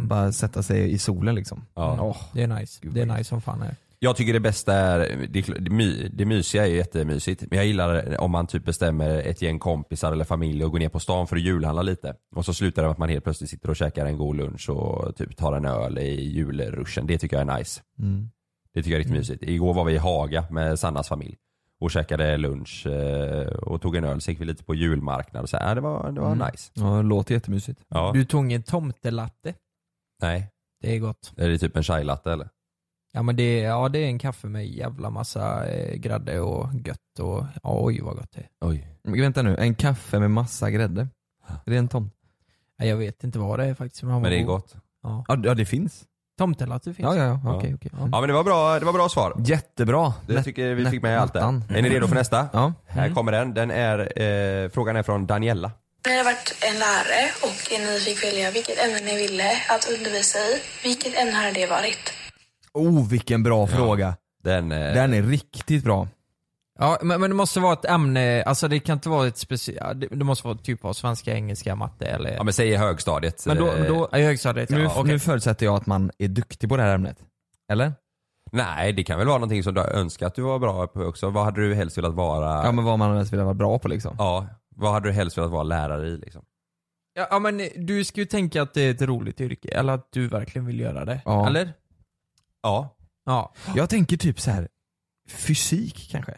bara sätta sig i solen liksom. Ja. Åh, Mm. det är nice. det är nice som fan är. Jag tycker det bästa är, det, är kl- det, my, det mysiga är ju jättemysigt, men jag gillar om man typ bestämmer ett gäng kompisar eller familj och går ner på stan för att julhandla lite. Och så slutar det med att man helt plötsligt sitter och käkar en god lunch och typ tar en öl i julruschen. Det tycker jag är nice. Mm. Det tycker jag är riktigt mysigt. Igår var vi i Haga med Sannas familj och käkade lunch eh, och tog en öl, så gick vi lite på julmarknad och så här, ja, det var, det var Mm. nice. Ja, det låter jättemysigt. Ja, Du tog ingen tomtelatte. nej. Det är gott. Är det typ en chai latte eller? Ja men det, ja, det är en kaffe med jävla massa eh, grädde och gött och ja, oj vad gott det är. Oj. Men vänta nu, en kaffe med massa grädde? Är det en tomt? Ja, jag vet inte vad det är faktiskt. Men, han var Men det är god. gott. Ja. Ja, ja det finns. Tomtelatte finns. Ja, ja, ja. Okej, okej. Mm. Ja men det var bra, det var bra svar. Jättebra. Det Lätt- tycker vi lätt- fick med allt det. lättan. Är ni redo för nästa? Ja. Här kommer den. den är, eh, frågan är från Daniela. Ni har varit en lärare och ni fick välja vilket ämne ni ville att undervisa i. Vilket ämne hade det varit? Oh vilken bra fråga. Den, eh, Den är riktigt bra. Ja, men, men det måste vara ett ämne, alltså det kan inte vara ett speciellt, det, det måste vara typ av svenska, engelska, matte eller... Ja men säg i högstadiet. Men då, Eh, då ja, i högstadiet, Nu, ja, okej. nu förutsätter jag att man är duktig på det här ämnet. Eller? Nej det kan väl vara någonting som du har önskat att du var bra på också. Vad hade du helst velat vara? Ja men vad man helst vill vara bra på liksom. Ja, vad hade du helst velat vara lärare i liksom? Ja, ja men du ska ju tänka att det är ett roligt yrke, eller att du verkligen vill göra det. Ja. Eller? Ja. Ja. Jag tänker typ så här fysik kanske.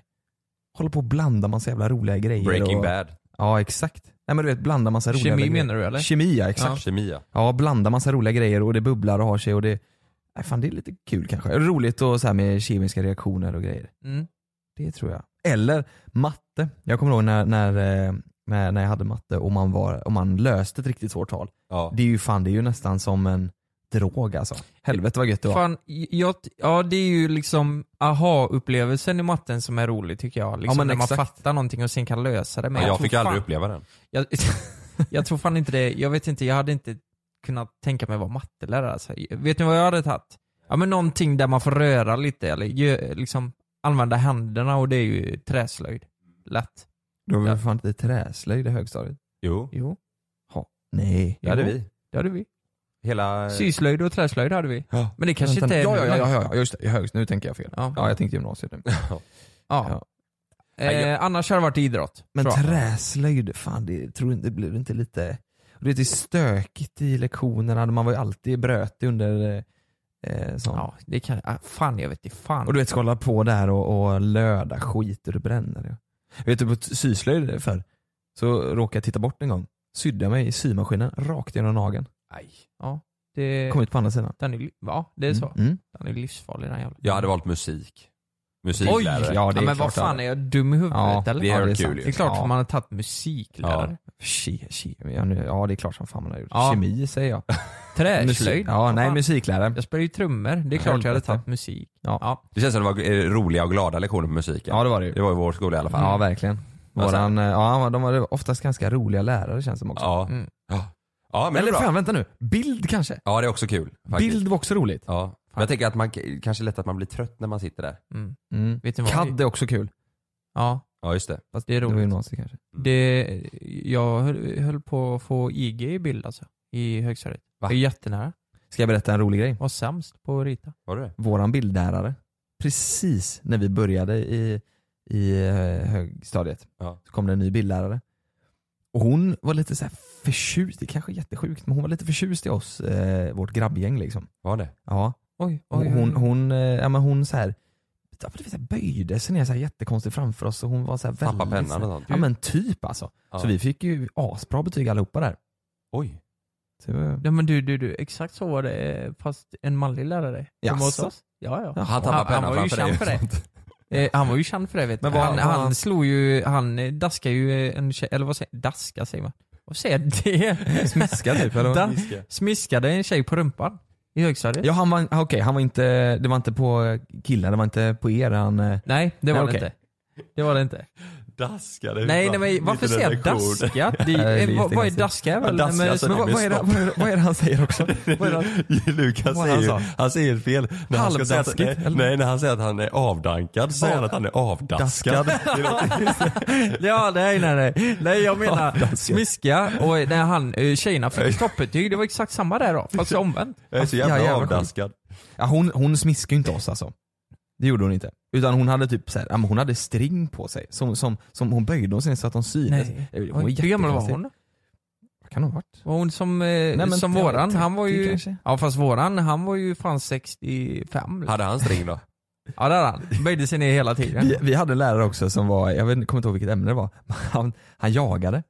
Håller på och blanda massa jävla roliga grejer. Breaking och, Bad. Ja exakt. Nej men du vet blanda massa roliga Kemi grejer. menar du, eller? Kemi ja, exakt. Ja. Kemi, ja. Ja, blanda massa roliga grejer och det bubblar och har sig och det, nej fan det är lite kul kanske. Roligt och så här med kemiska reaktioner och grejer. Mm. Det tror jag. Eller matte. Jag kommer ihåg när, när, eh, när, när jag hade matte och man, var, och man löste ett riktigt svårt tal. Ja. Det är ju fan, det är ju nästan som en drog alltså. Helvete vad gött det var. Fan, jag, ja det är ju liksom aha-upplevelsen i matten som är rolig tycker jag. Liksom, Ja, men när man exakt. fattar någonting och sen kan lösa det. Men Ja, jag tror fick aldrig fan- uppleva den. Jag, jag tror fan inte det, jag vet inte, jag hade inte kunnat tänka mig vara mattelärare. Alltså. Vet ni vad jag hade tagit? Ja men någonting där man får röra lite eller gö- liksom använda händerna och det är ju träslöjd. Lätt. Det var väl Ja. fan inte träslöjd i högstadiet? Jo. Jo. Ha, nej. Det hade Jo. vi. Det hade vi. Hela... Syslöjd och träslöjd hade vi. Men det kanske Vänta, inte är... ja, ja, ja, ja, ja, just det. I högst, nu tänker jag fel. Ja, jag tänkte gymnasiet nu. Ja. Eh, annars har det varit idrott. Men tror jag. träslöjd, fan det, tror inte, blir det inte lite, och det är stökigt i lektionerna, man var ju alltid brötig under eh, sånt. Ja, det kan, ah, fan jag vet inte, fan. Och du vet, ska hålla på där och, och löda skit och det bränner. Ja. Vet du, på t- syslöjd förr, så råkade jag titta bort en gång. Sydde jag mig i symaskinen rakt genom nageln. Aj. Ja, det, Kom ut på andra sidan. den är, li- ja, det är så. Mm. Den är livsfarlig den jävla. Jag hade valt musik. Oj! Musiklärare. Ja, men vad fan, är jag dum i huvudet Ja, eller? det är kul sant. ju. Det är klart Ja. för man har tagit musiklärare. Ke, ke, ja, nu, ja det är klart som fan man har gjort. Ja. Kemi säger jag. Träslöjd. Musik- Ja, nej Fan. musiklärare. Jag spelar ju trummor. Det är klart jag hade Helvete. tagit musik. Ja. Det känns som det var eh, roliga och glada lektioner på musiken. Ja, det var det ju. Det var i vår skola i alla fall. Ja verkligen. Våran, eh, ja, de var oftast ganska roliga lärare känns det som också. Ja. Mm. Ja. Ja, men det är Eller bra. fan vänta nu, bild kanske? Ja det är också kul. Faktiskt. Bild var också roligt. Ja. Men jag tänker att man k- kanske är lätt att man blir trött när man sitter där. Mm. Mm. Vet ni vad? CAD är också kul. Ja, Ja just det. Fast det är Det var roligt. gymnasiet kanske. Mm. Det, jag höll, höll på att få IG i bild alltså, i högstadiet. Va? Jag är jättenära. Ska jag berätta en rolig grej? Var sämst på att rita. Var det det? Våran bildlärare, precis när vi började i, i eh, högstadiet, Ja. så kom det en ny bildlärare. Och hon var lite så här förtjust, det kanske är jättesjukt, men hon var lite förtjust i oss, eh, vårt grabbgäng liksom. Var det? Ja. Oj, Hon, oj, oj. hon, hon, eh, ja, men hon så här, ja, men du vet, så här böjde sig ner så här jättekonstigt framför oss och hon var så här Tappade väldigt... pennan så och här, sånt. Ja men typ alltså. Ja. Så vi fick ju asbra betyg allihopa där. Oj. Så, det var- Nej men du, du, du, exakt så var det eh, fast en manlig lärare. som var hos Jaså? oss. Ja, ja. Han tappar pennan var ju framför dig känd för och det. Eh, han var ju känd för det vet du. Men vad- Han, vad- han slog ju, han eh, daskade ju eh, en tjej, eller vad säger Daska säger man. Vad säger jag det? Smiska typ, eller vad? Da, Smiska. smiskade en tjej på rumpan. I högstadiet. Ja han var, okej han var inte, det var inte på killar, det var inte på er han... eh, Nej, det var det okej. inte. Det var det inte. Daskade. Nej, nej men varför säger jag daska? Det, är- eh, vad, vad är daska? Väl? Nej, men, men, vad, vad, är det, vad, är, det- vad är det han säger också? Vad är det han- Lukas Vad säger han ju, sa? han säger fel. När han ska säga, Halvdaskigt, nej, eller? nej, när han säger att han är avdankad så säger han att han är avdaskad. Det låter- ja, nej, nej, nej. Nej, jag menar smiska och när han, eh, tjejerna fick toppbetyg, det var exakt samma där då, fast omvänt. Jag är så jävla Ja, jävla avdaskad. Ja, hon, hon smiskade ju inte oss alltså. Det gjorde hon inte. Utan hon hade typ så här, ja, men hon hade string på sig. Som, som, som hon böjde hon sig så att hon syntes. Eh, Nej. Hon var Hur gammal var jättekonstig. hon? Vad kan hon ha varit? Var hon som, eh, men som jag våran? vet Han var inte, ju... kanske. Ja fast våran, han var ju fan 65. liksom. Hade han string då? Ja det hade han. Böjde sig ner hela tiden. Vi, vi hade en lärare också som var, jag vet, inte- kommer inte ihåg vilket ämne det var, men han, han jagade.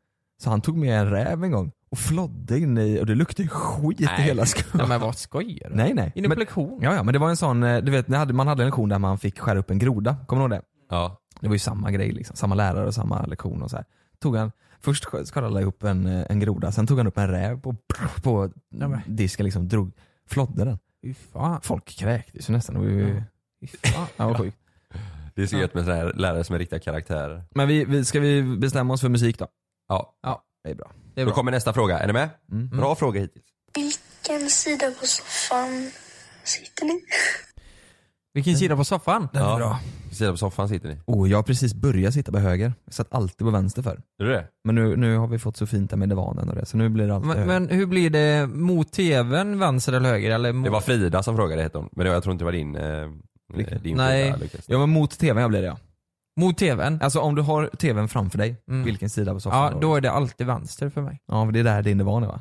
Så han tog med en räv en gång och flodde in i, och det luktade ju skit i hela skolan. Nej men vad skojar du? Nej nej. Inne på Men- lektion? Ja, ja men det var en sån, eh, du vet ni hade- man hade en lektion där man fick skära upp en groda, kommer du ihåg det? Ja. Det var ju samma grej liksom, samma lärare och samma lektion och så här. Tog han, först sk- skar alla ihop en, eh, en groda, sen tog han upp en räv på, på Nej, men. disken liksom, drog, flodde den. Fy fan. Folk kräktes ju nästan, det var ju, Fy fan. ja, vad sjukt. Det är så gött med sådana här lärare som är riktiga karaktärer. Men vi, vi, ska vi bestämma oss för musik då? Ja. ja. Det är bra. Mm, Då kommer nästa fråga, är ni med? Bra fråga hittills. Vilken sida på soffan sitter ni? Vilken sida på soffan? Den är bra. Sidan på soffan sitter ni. Oh, jag har precis börjat sitta på höger. Jag satt alltid på vänster för. Är det det? Men nu, nu har vi fått så fint där med divanen och det, så nu blir det alltid Men, höger. men hur blir det mot tvn, vänster eller höger? Eller mot... Det var Frida som frågade hette hon, men det var, jag tror inte det var din, eh, din Nej. fråga Lukas. Ja men mot tvn blir det ja. Mot tvn? Alltså om du har tvn framför dig, Mm. vilken sida på soffan Ja, då är det alltid vänster för mig. Ja men det är där din divan är va?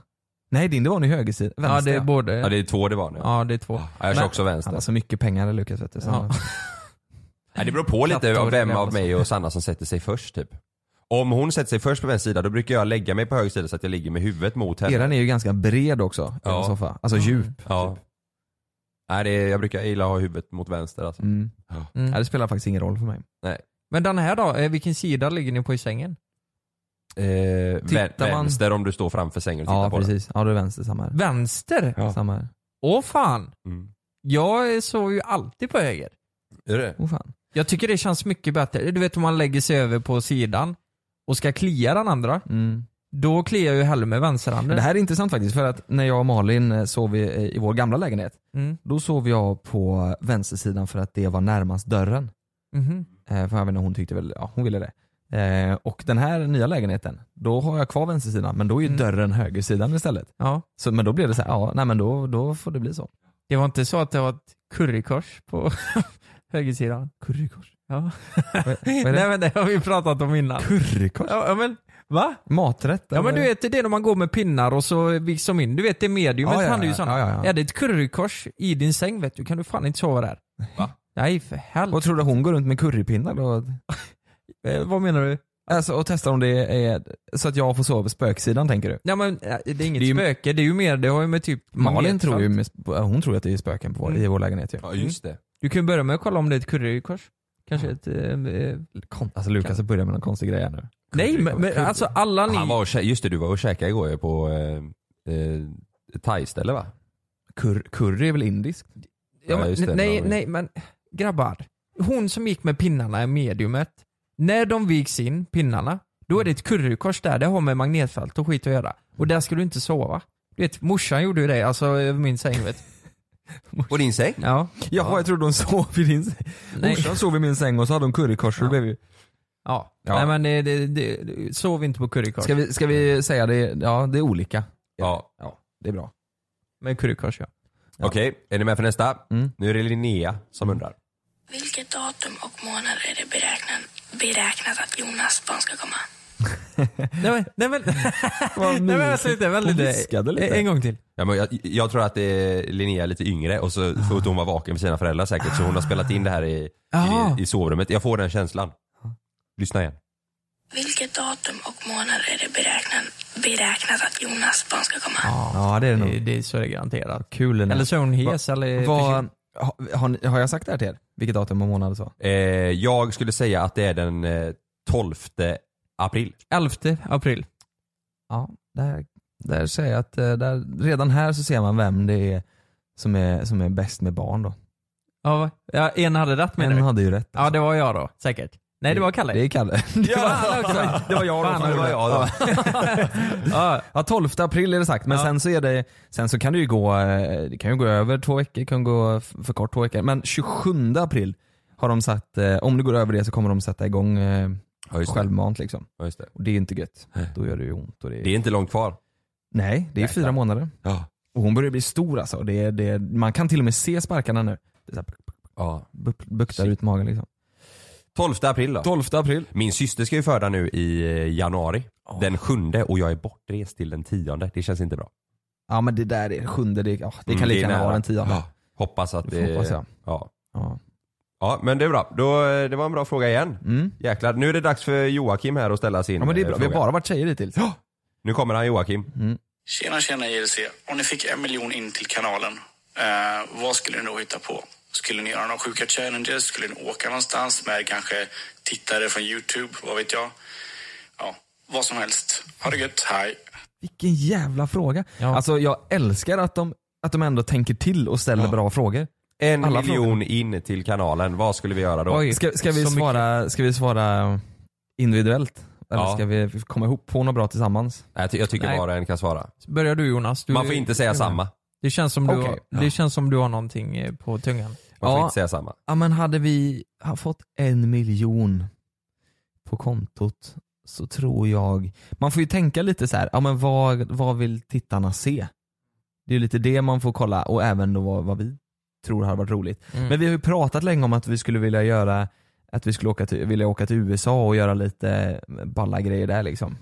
Nej din divan är höger sida, vänster ja, det är både... Ja det är två det var nu. Ja, det är två. Ja, jag kör också vänster. Han har så mycket pengar Lukas vet du. Så Ja. Nej, det beror på lite Kattår, av vem det av är mig och Sanna som sätter sig först typ. Om hon sätter sig först på vänster sida då brukar jag lägga mig på höger sida så att jag ligger med huvudet mot henne. Eran är ju ganska bred också, Ja. ja. soffa. Alltså djup. Ja. Nej, det är, jag brukar gilla att ha huvudet mot vänster alltså. Mm. Ja. Ja, det spelar faktiskt ingen roll för mig. Nej. Men den här då, eh, vilken sida ligger ni på i sängen? Eh, vän, Tittar man- vänster om du står framför sängen och tittar Ja på precis, ja då är vänster samma här. Vänster? Samma här. Åh fan! den. Mm. Jag sov ju alltid på höger. Är det? Oh, fan. Jag tycker det känns mycket bättre. Du vet om man lägger sig över på sidan och ska klia den andra. Mm. Då kliar jag ju hellre med vänsterhanden. Men det här är intressant faktiskt för att när jag och Malin eh, sov i, i vår gamla lägenhet, Mm. då sov jag på vänstersidan för att det var närmast dörren. Mhm. Eh, för jag vet inte, hon tyckte väl, ja hon ville det. Eh, och den här nya lägenheten, då har jag kvar vänstersidan men då Mm. är ju dörren högersidan istället. Ja. Så, men då blev det så här, ja nej men då, då får det bli så. Det var inte så att det var ett currykors på högersidan? Currykors? Ja. är det? Nej men det har vi pratat om innan. Currykors? Ja ja, men, va? Maträtt? Ja men du vet det är när man går med pinnar och så viks de in. Du vet det mediumet Ja, ja, han är ju ja. sån. Ja, ja, ja. Är det ett currykors i din säng vet du kan du fan inte sova där. Va? Nej för helvete. Vad tror du hon går runt med currypinnar då? Eh, vad menar du? Alltså och testar om det är så att jag får sova på spöksidan tänker du? Nej men eh, det är inget Det är ju- spöke, det är ju mer, det har ju med typ Malin magnetfält. tror ju, med, hon tror att det är spöken på vår, Mm. i vår lägenhet ju. Ja just det. Du kan ju börja med att kolla om det är ett currykors. Kanske ett... eh, eh, Kon- Alltså Lukas börjar med någon konstig grej här nu. nej men, men alltså alla ni... Han var och, kä- just det, du var och käkade igår ju på eh, eh, thaiställe va? Cur- curry är väl indiskt? Ja, Ja, men, just det, nej, Malin. nej men grabbar. Hon som gick med pinnarna i mediumet. När de viks in, pinnarna, då är det ett currykors där. Det har med magnetfält och skit att göra. Och där ska du inte sova. Du vet, morsan gjorde ju det, alltså över min säng vet du. På din säng? Ja. Jaha, jag trodde hon sov i din säng. Nej. Morsan sov i min säng och så hade hon currykors. så det blev ju- Ja. Ja. Nej men eh, det, det, det, sov inte på currykors. Ska vi, ska vi säga det? Ja, det är olika. Ja. Ja, det är bra. Med currykors ja. Okej, är ni med för nästa? Mm. Nu är det Linnea som undrar. Vilket datum och månad är det beräknat, beräknat att Jonas barn ska komma? Nej men, nej men, nej, men alltså, vänta lite, vänta Hon lite. viskade lite. En gång till. Ja, men jag, jag tror att det är Linnea är lite yngre och Ah. så för att hon var vaken med sina föräldrar säkert så hon har spelat in det här i, Ah. i, i sovrummet. Jag får den känslan. Lyssna igen. Vilket datum och månad är det beräknat, beräknat att Jonas barn ska komma? Ah, Ja, det är det nog. Det, det är så det är garanterat. Kul den Eller så är hon hes eller Vad, förkyld. ha- har, ni- har jag sagt det här till er? Vilket datum och månad och så? Eh, jag skulle säga att det är den eh, 12 april. 11 april. Ja, där, där säger jag att eh, där, redan här så ser man vem det är som är, som är bäst med barn då. Ja, va? ja, en hade rätt menar En du? hade ju rätt. Ja, det var jag då, säkert. Nej, det var Kalle. Det är Kalle. Ja, han också. Det var jag då. Fan, det var jag då. Ja. ja, 12 april är det sagt, men sen så är det, sen så kan det ju gå, eh, det kan ju gå över två veckor, kan gå f- för kort två veckor. Men 27 april har de satt, eh, om det går över det så kommer de sätta igång eh, just det. självmant liksom. Ja, just det. Och det är ju inte gött. Då gör det ju ont. Och det, är... Det är inte långt kvar. Nej, det är Jäklar. fyra månader. Och hon börjar bli stor alltså. Det är, det är, man kan till och med se sparkarna nu. Det är så här, ja. buktar ut magen liksom. 12 april då. 12 april. Min syster ska ju föda nu i eh, januari. Den sjunde och jag är bortrest till den tionde. Det känns inte bra. Ja men det där är sjunde, det, ja, det kan Mm, lika är gärna nära. vara den tionde. Ja. Hoppas att Det får det... hoppas jag. Ja. Ja. ja men det är bra. Då, eh, det var en bra fråga igen. Jäklar. Nu är det dags för Joakim här att ställa sin Mm. Ja, men det är bra. eh, Vi fråga. har bara varit tjejer hittills. Nu kommer han Joakim. Tjena, tjena JLC. Om ni fick en miljon in till kanalen, eh, vad skulle ni då hitta på? Skulle ni göra några sjuka challenges? Skulle ni åka någonstans med kanske tittare från Youtube? Vad vet jag? Ja, vad som helst. Ha det gött. Hej! Vilken jävla fråga. Alltså jag älskar att de, att de ändå tänker till och ställer bra frågor. En Alla miljon in till kanalen. Vad skulle vi göra då? Oj, ska, ska, vi svara, ska vi svara individuellt? Eller Ja. ska vi komma ihop på något bra tillsammans? Nej, Jag, ty- jag tycker Nej. var och en kan svara. Börjar du Jonas? Du, Man får inte säga samma. Det känns som du, Okej. har, det känns som du har någonting eh, på tungan. Man får inte säga samma. Ja men hade vi ha- fått en miljon på kontot så tror jag, man får ju tänka lite så här, ja men vad, vad vill tittarna se? Det är ju lite det man får kolla och även då vad, vad vi tror har varit roligt. Mm. Men vi har ju pratat länge om att vi skulle vilja göra, att vi skulle åka till, vilja åka till USA och göra lite balla grejer där liksom.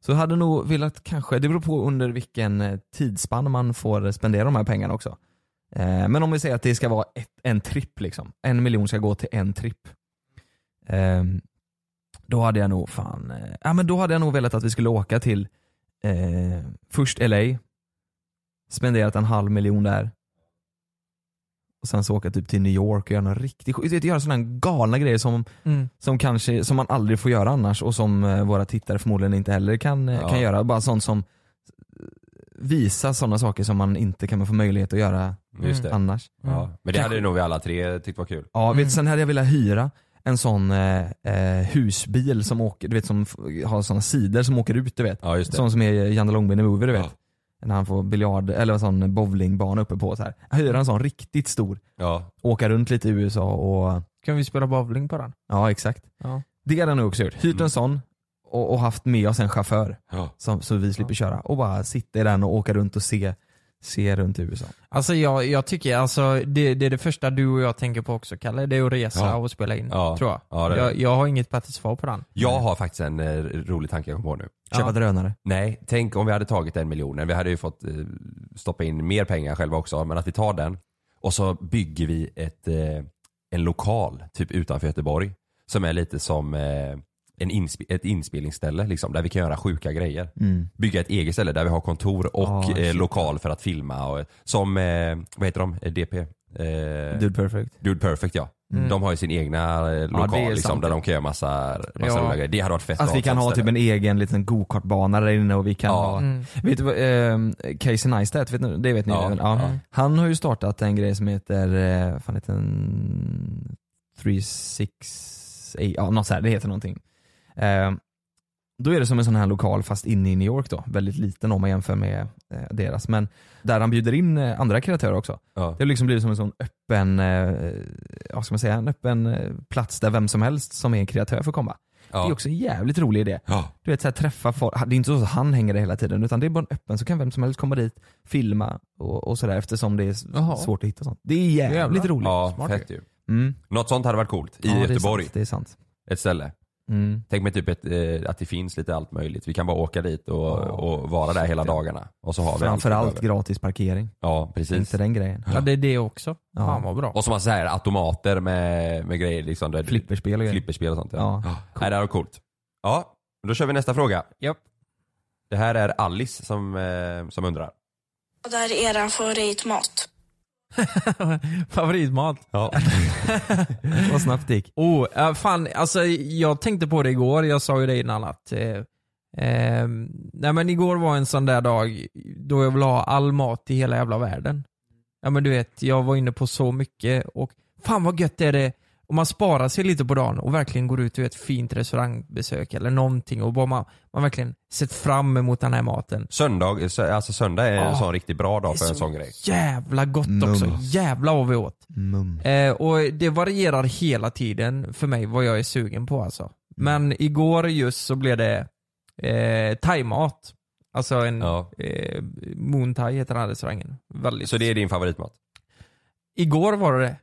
Så jag hade nog velat kanske, det beror på under vilken eh, tidsspann man får spendera de här pengarna också. Eh, men om vi säger att det ska vara ett, en tripp liksom. En miljon ska gå till en tripp. Eh, då hade jag nog fan, eh, ja men då hade jag nog velat att vi skulle åka till eh, först LA, spenderat en halv miljon där. Och sen så åka typ till New York och göra någon riktig skit. Du vet, Göra sådana galna grejer som, Mm. som, kanske, som man aldrig får göra annars och som eh, våra tittare förmodligen inte heller kan, eh, Ja. kan göra. Bara sånt som visa sådana saker som man inte kan få möjlighet att göra Just det. annars. Ja. Men det Kanske- hade nog vi alla tre tyckt var kul. Ja, Mm. vet, du, sen hade jag velat hyra en sån eh, eh, husbil som åker, du vet som f- har såna sidor som åker ut du vet. just det. Sån som är i Janne Långben i Movie du vet. När han får biljard, eller en sån bowlingbana uppe på så här. Hyra en sån riktigt stor. Ja. Åka runt lite i USA och, Kan vi spela bowling på den? ja exakt. Ja. Mm. Det hade jag nog också gjort. Hyrt en sån och, och haft med oss en chaufför. Som, så vi slipper köra. Och bara sitta i den och åka runt och se, se runt i USA. Alltså jag, jag tycker, alltså det, det är det första du och jag tänker på också Kalle, det är att resa Ja. och spela in. Ja. Tror jag. Ja, det är det. jag. Jag har inget praktiskt svar på den. Jag har faktiskt en eh, rolig tanke jag kom på nu. Köpa drönare. Nej, tänk om vi hade tagit den miljonen. Vi hade ju fått eh, stoppa in mer pengar själva också, men att vi tar den och så bygger vi ett, eh, en lokal typ utanför Göteborg som är lite som eh, en insp- ett inspelningsställe liksom, där vi kan göra sjuka grejer. Mm. Bygga ett eget ställe där vi har kontor och Ah, eh, shit. lokal för att filma. Och, som, eh, vad heter de? Eh, DP? Eh, Dude Perfect. Dude Perfect ja. Mm. De har ju sin egna eh, lokal det är liksom, sant. där de kan göra massa, massa Ja. roliga grejer. Det hade varit fett Att att ha vi ett kan sånt ha ställe. typ en egen liten gokartbana där inne och vi kan Ja. ha, Mm. vet du vad, ehm, Casey Neistat, vet ni, det vet ni Ja. väl? Ja. Ja. Han har ju startat en grej som heter, eh, fan heter den, 368, ja något så här, det heter någonting. Ehm, då är det som en sån här lokal fast inne i New York då, väldigt liten om man jämför med eh, deras. Men där han bjuder in eh, andra kreatörer också. Det har liksom blivit som en sån öppen, eh, vad ska man säga, en öppen eh, plats där vem som helst som är en kreatör får komma. Det är också en jävligt rolig idé. Du vet, så här, träffa folk. Det är inte så att han hänger där hela tiden utan det är bara en öppen så kan vem som helst komma dit, filma och, och sådär eftersom det är s- Jaha. svårt att hitta sånt. Det är jävligt roligt. Ja, Smart fett ju. Mm. Något sånt hade varit coolt i Ja, det är Göteborg. sant, det är sant. Ett ställe. Mm. Tänk mig typ ett, eh, att det finns lite allt möjligt. Vi kan bara åka dit och, och vara där hela dagarna. Och så har vi allt Framförallt utöver. gratis parkering. Ja, precis. Inte den grejen. Ja, det är det också. Ja. Fan vad bra. Och så massa så här automater med, med grejer. Liksom, där, flipperspel och grejer. Flipperspel och sånt. Ja. Ja. Nej, det här var coolt. Ja, då kör vi nästa fråga. Japp. Det här är Alice som, eh, som undrar. Vad är er favoritmat? Favoritmat. Ja. Vad snabbt det gick. Oh, eh, fan, alltså, jag tänkte på det igår, jag sa ju det innan att eh, eh, nej, men igår var en sån där dag då jag ville ha all mat i hela jävla världen. Ja men du vet, jag var inne på så mycket och fan vad gött är det om man sparar sig lite på dagen och verkligen går ut och gör ett fint restaurangbesök eller någonting och bara man, man verkligen sett fram emot den här maten. Söndag, sö- alltså söndag är en Ja. sån riktigt bra dag Det för är en så sån grej. Jävla gott också. Jävla vad vi åt. Eh, och det varierar hela tiden för mig vad jag är sugen på alltså. Men igår just så blev det eh, thaimat. Alltså en eh, Moon Thai heter den här restaurangen. Väldigt. Så det är din favoritmat? Igår var det det.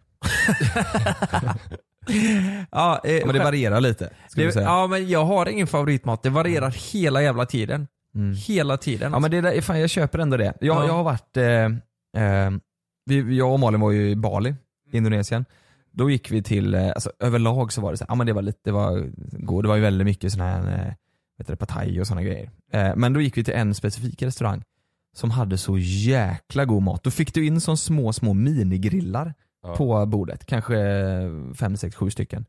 ja, eh, men det själv- varierar lite, skulle det, du säga. Mm. Ja men jag har ingen favoritmat. Det varierar hela jävla tiden. Hela tiden. Ja men det där, fan jag köper ändå det. Jag, Ja. jag har varit, eh, eh, vi, jag och Malin var ju i Mm. Bali, Indonesien. Då gick vi till, eh, alltså, överlag så var det så här, ja men det var lite, det var, god, det var ju väldigt mycket sån här, eh, vet du, det, pad thai och sådana grejer. Eh, men då gick vi till en specifik restaurang som hade så jäkla god mat. Då fick du in sån små, små minigrillar Ja. på bordet. Kanske fem, sex, sju stycken.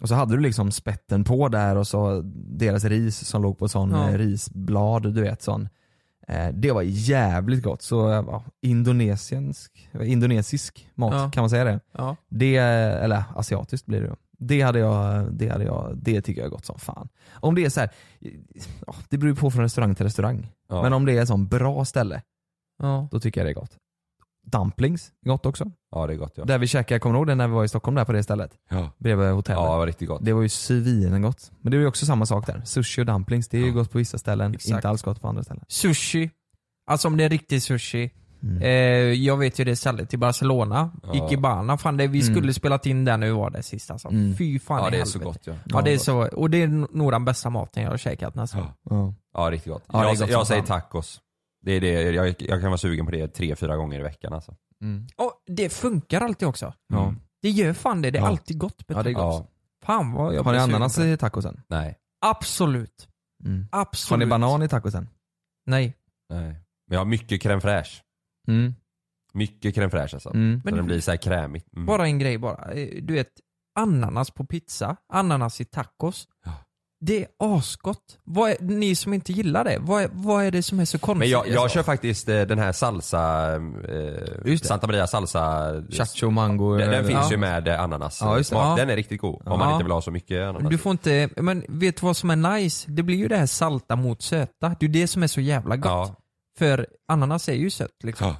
Och så hade du liksom spetten på där och så deras ris som låg på sån Ja. eh, risblad, du vet sån. Eh, Det var jävligt gott. Så eh, ja, indonesisk, indonesisk mat, Ja. kan man säga det? Ja. det? Eller asiatiskt blir det då. Det hade jag, det hade jag, det tycker jag är gott som fan. Om det är så här, ja, det beror ju på från restaurang till restaurang. Ja. Men om det är ett sånt bra ställe, Ja. då tycker jag det är gott. Dumplings, gott också. Ja det är gott ja. Där vi käkade, kommer du ihåg det när vi var i Stockholm där på det stället? Ja. Bredvid hotellet. Ja, det var riktigt gott. Det var ju svingott. Men det var ju också samma sak där. Sushi och dumplings, det är ju gott på vissa ställen, Exakt. inte alls gott på andra ställen. Sushi. Alltså om det är riktig sushi. Mm. Eh, jag vet ju det stället i Barcelona, Ja. Ikebana. Fan det, vi Mm. skulle spelat in där nu var det sist alltså. Mm. Fy fan Ja, i det är helvete. så gott, ja. ja det är så, och det är nog den bästa maten jag har käkat nästan. Ja. Ja riktigt gott. Ja, det är jag gott som jag säger fan. tacos. Det är det, jag, jag kan vara sugen på det tre, fyra gånger i veckan alltså. Mm. Och det funkar alltid också. Ja. Det gör fan det, det är alltid gott. med Ja, det är tacos. gott. Fan vad jag Har ni blir sugen ananas på det. i tacosen? Nej. Absolut. Mm. Absolut. Har ni banan i tacosen? Nej. Nej. Men jag har mycket crème fraîche. Mm. Mycket crème fraîche alltså. Så Mm. Men- den blir så här krämig. Mm. Bara en grej bara. Eh, Du vet, ananas på pizza, ananas i tacos. Det är asgott. Vad är, ni som inte gillar det, vad är, vad är det som är så konstigt? Alltså, Men jag, jag kör faktiskt eh, den här salsa, eh, Santa Maria salsa. eh, Cacio mango. Den, den finns Ja. ju med eh, ananas. Ja, just det. smak. Ja. Den är riktigt god om man Ja. inte vill ha så mycket ananas. Du får inte, men vet du vad som är nice? Det blir ju det här salta mot söta. Det är det som är så jävla gott. Ja. För ananas är ju sött liksom.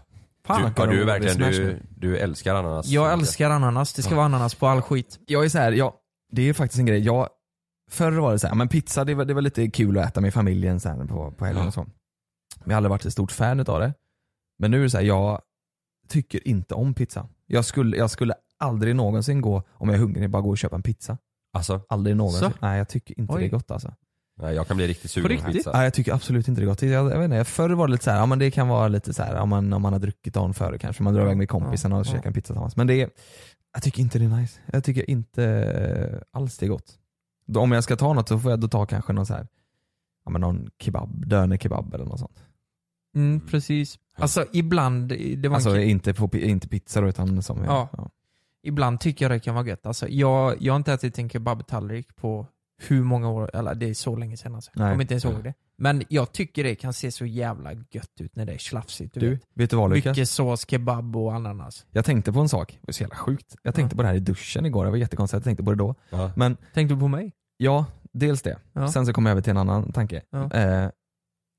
Fan, Du, ja, du, är verkligen, smash du, nu. du älskar ananas. Jag älskar ananas, det ska vara ananas på all skit. Jag är så här, jag, det är faktiskt en grej. Jag, förr var det så här, men pizza det var, det var lite kul att äta med familjen så här på, på helgen och så. Men jag har aldrig varit ett stort fan av det. Men nu är det så här, jag tycker inte om pizza. Jag skulle, jag skulle aldrig någonsin gå, om jag är hungrig, bara gå och köpa en pizza. Alltså? Aldrig någonsin. Så? Nej jag tycker inte Oj. det är gott alltså. Nej, jag kan bli riktigt sugen på pizza. Nej jag tycker absolut inte det är gott. Jag, jag vet inte, förr var det lite så här, ja men det kan vara lite så här, om man, om man har druckit dagen före kanske, man drar iväg med kompisen och Ja. käkar en pizza tillsammans. Men det är, jag tycker inte det är nice. Jag tycker inte eh, alls det är gott. Då, om jag ska ta något så får jag då ta kanske någon så här, ja men någon kebab, dönerkebab eller något sånt. Mm, precis. Alltså ibland, det var en Alltså kille- inte, på, pi- inte pizza då utan som, Ja. Ibland tycker jag det kan vara gött. Alltså, jag, jag har inte ätit en kebabtallrik på hur många år, eller det är så länge sedan alltså. Nej. Jag kommer inte ens Ja. ihåg det. Men jag tycker det kan se så jävla gött ut när det är slafsigt. Du, vet du vad, Lukas? Mycket sås, kebab och ananas. Jag tänkte på en sak, det var så jävla sjukt. Jag tänkte på det här i duschen igår, det var jättekonstigt att jag tänkte på det då. Men, tänkte du på mig? Ja, dels det. Ja. Sen så kom jag över till en annan tanke. Ja. Eh,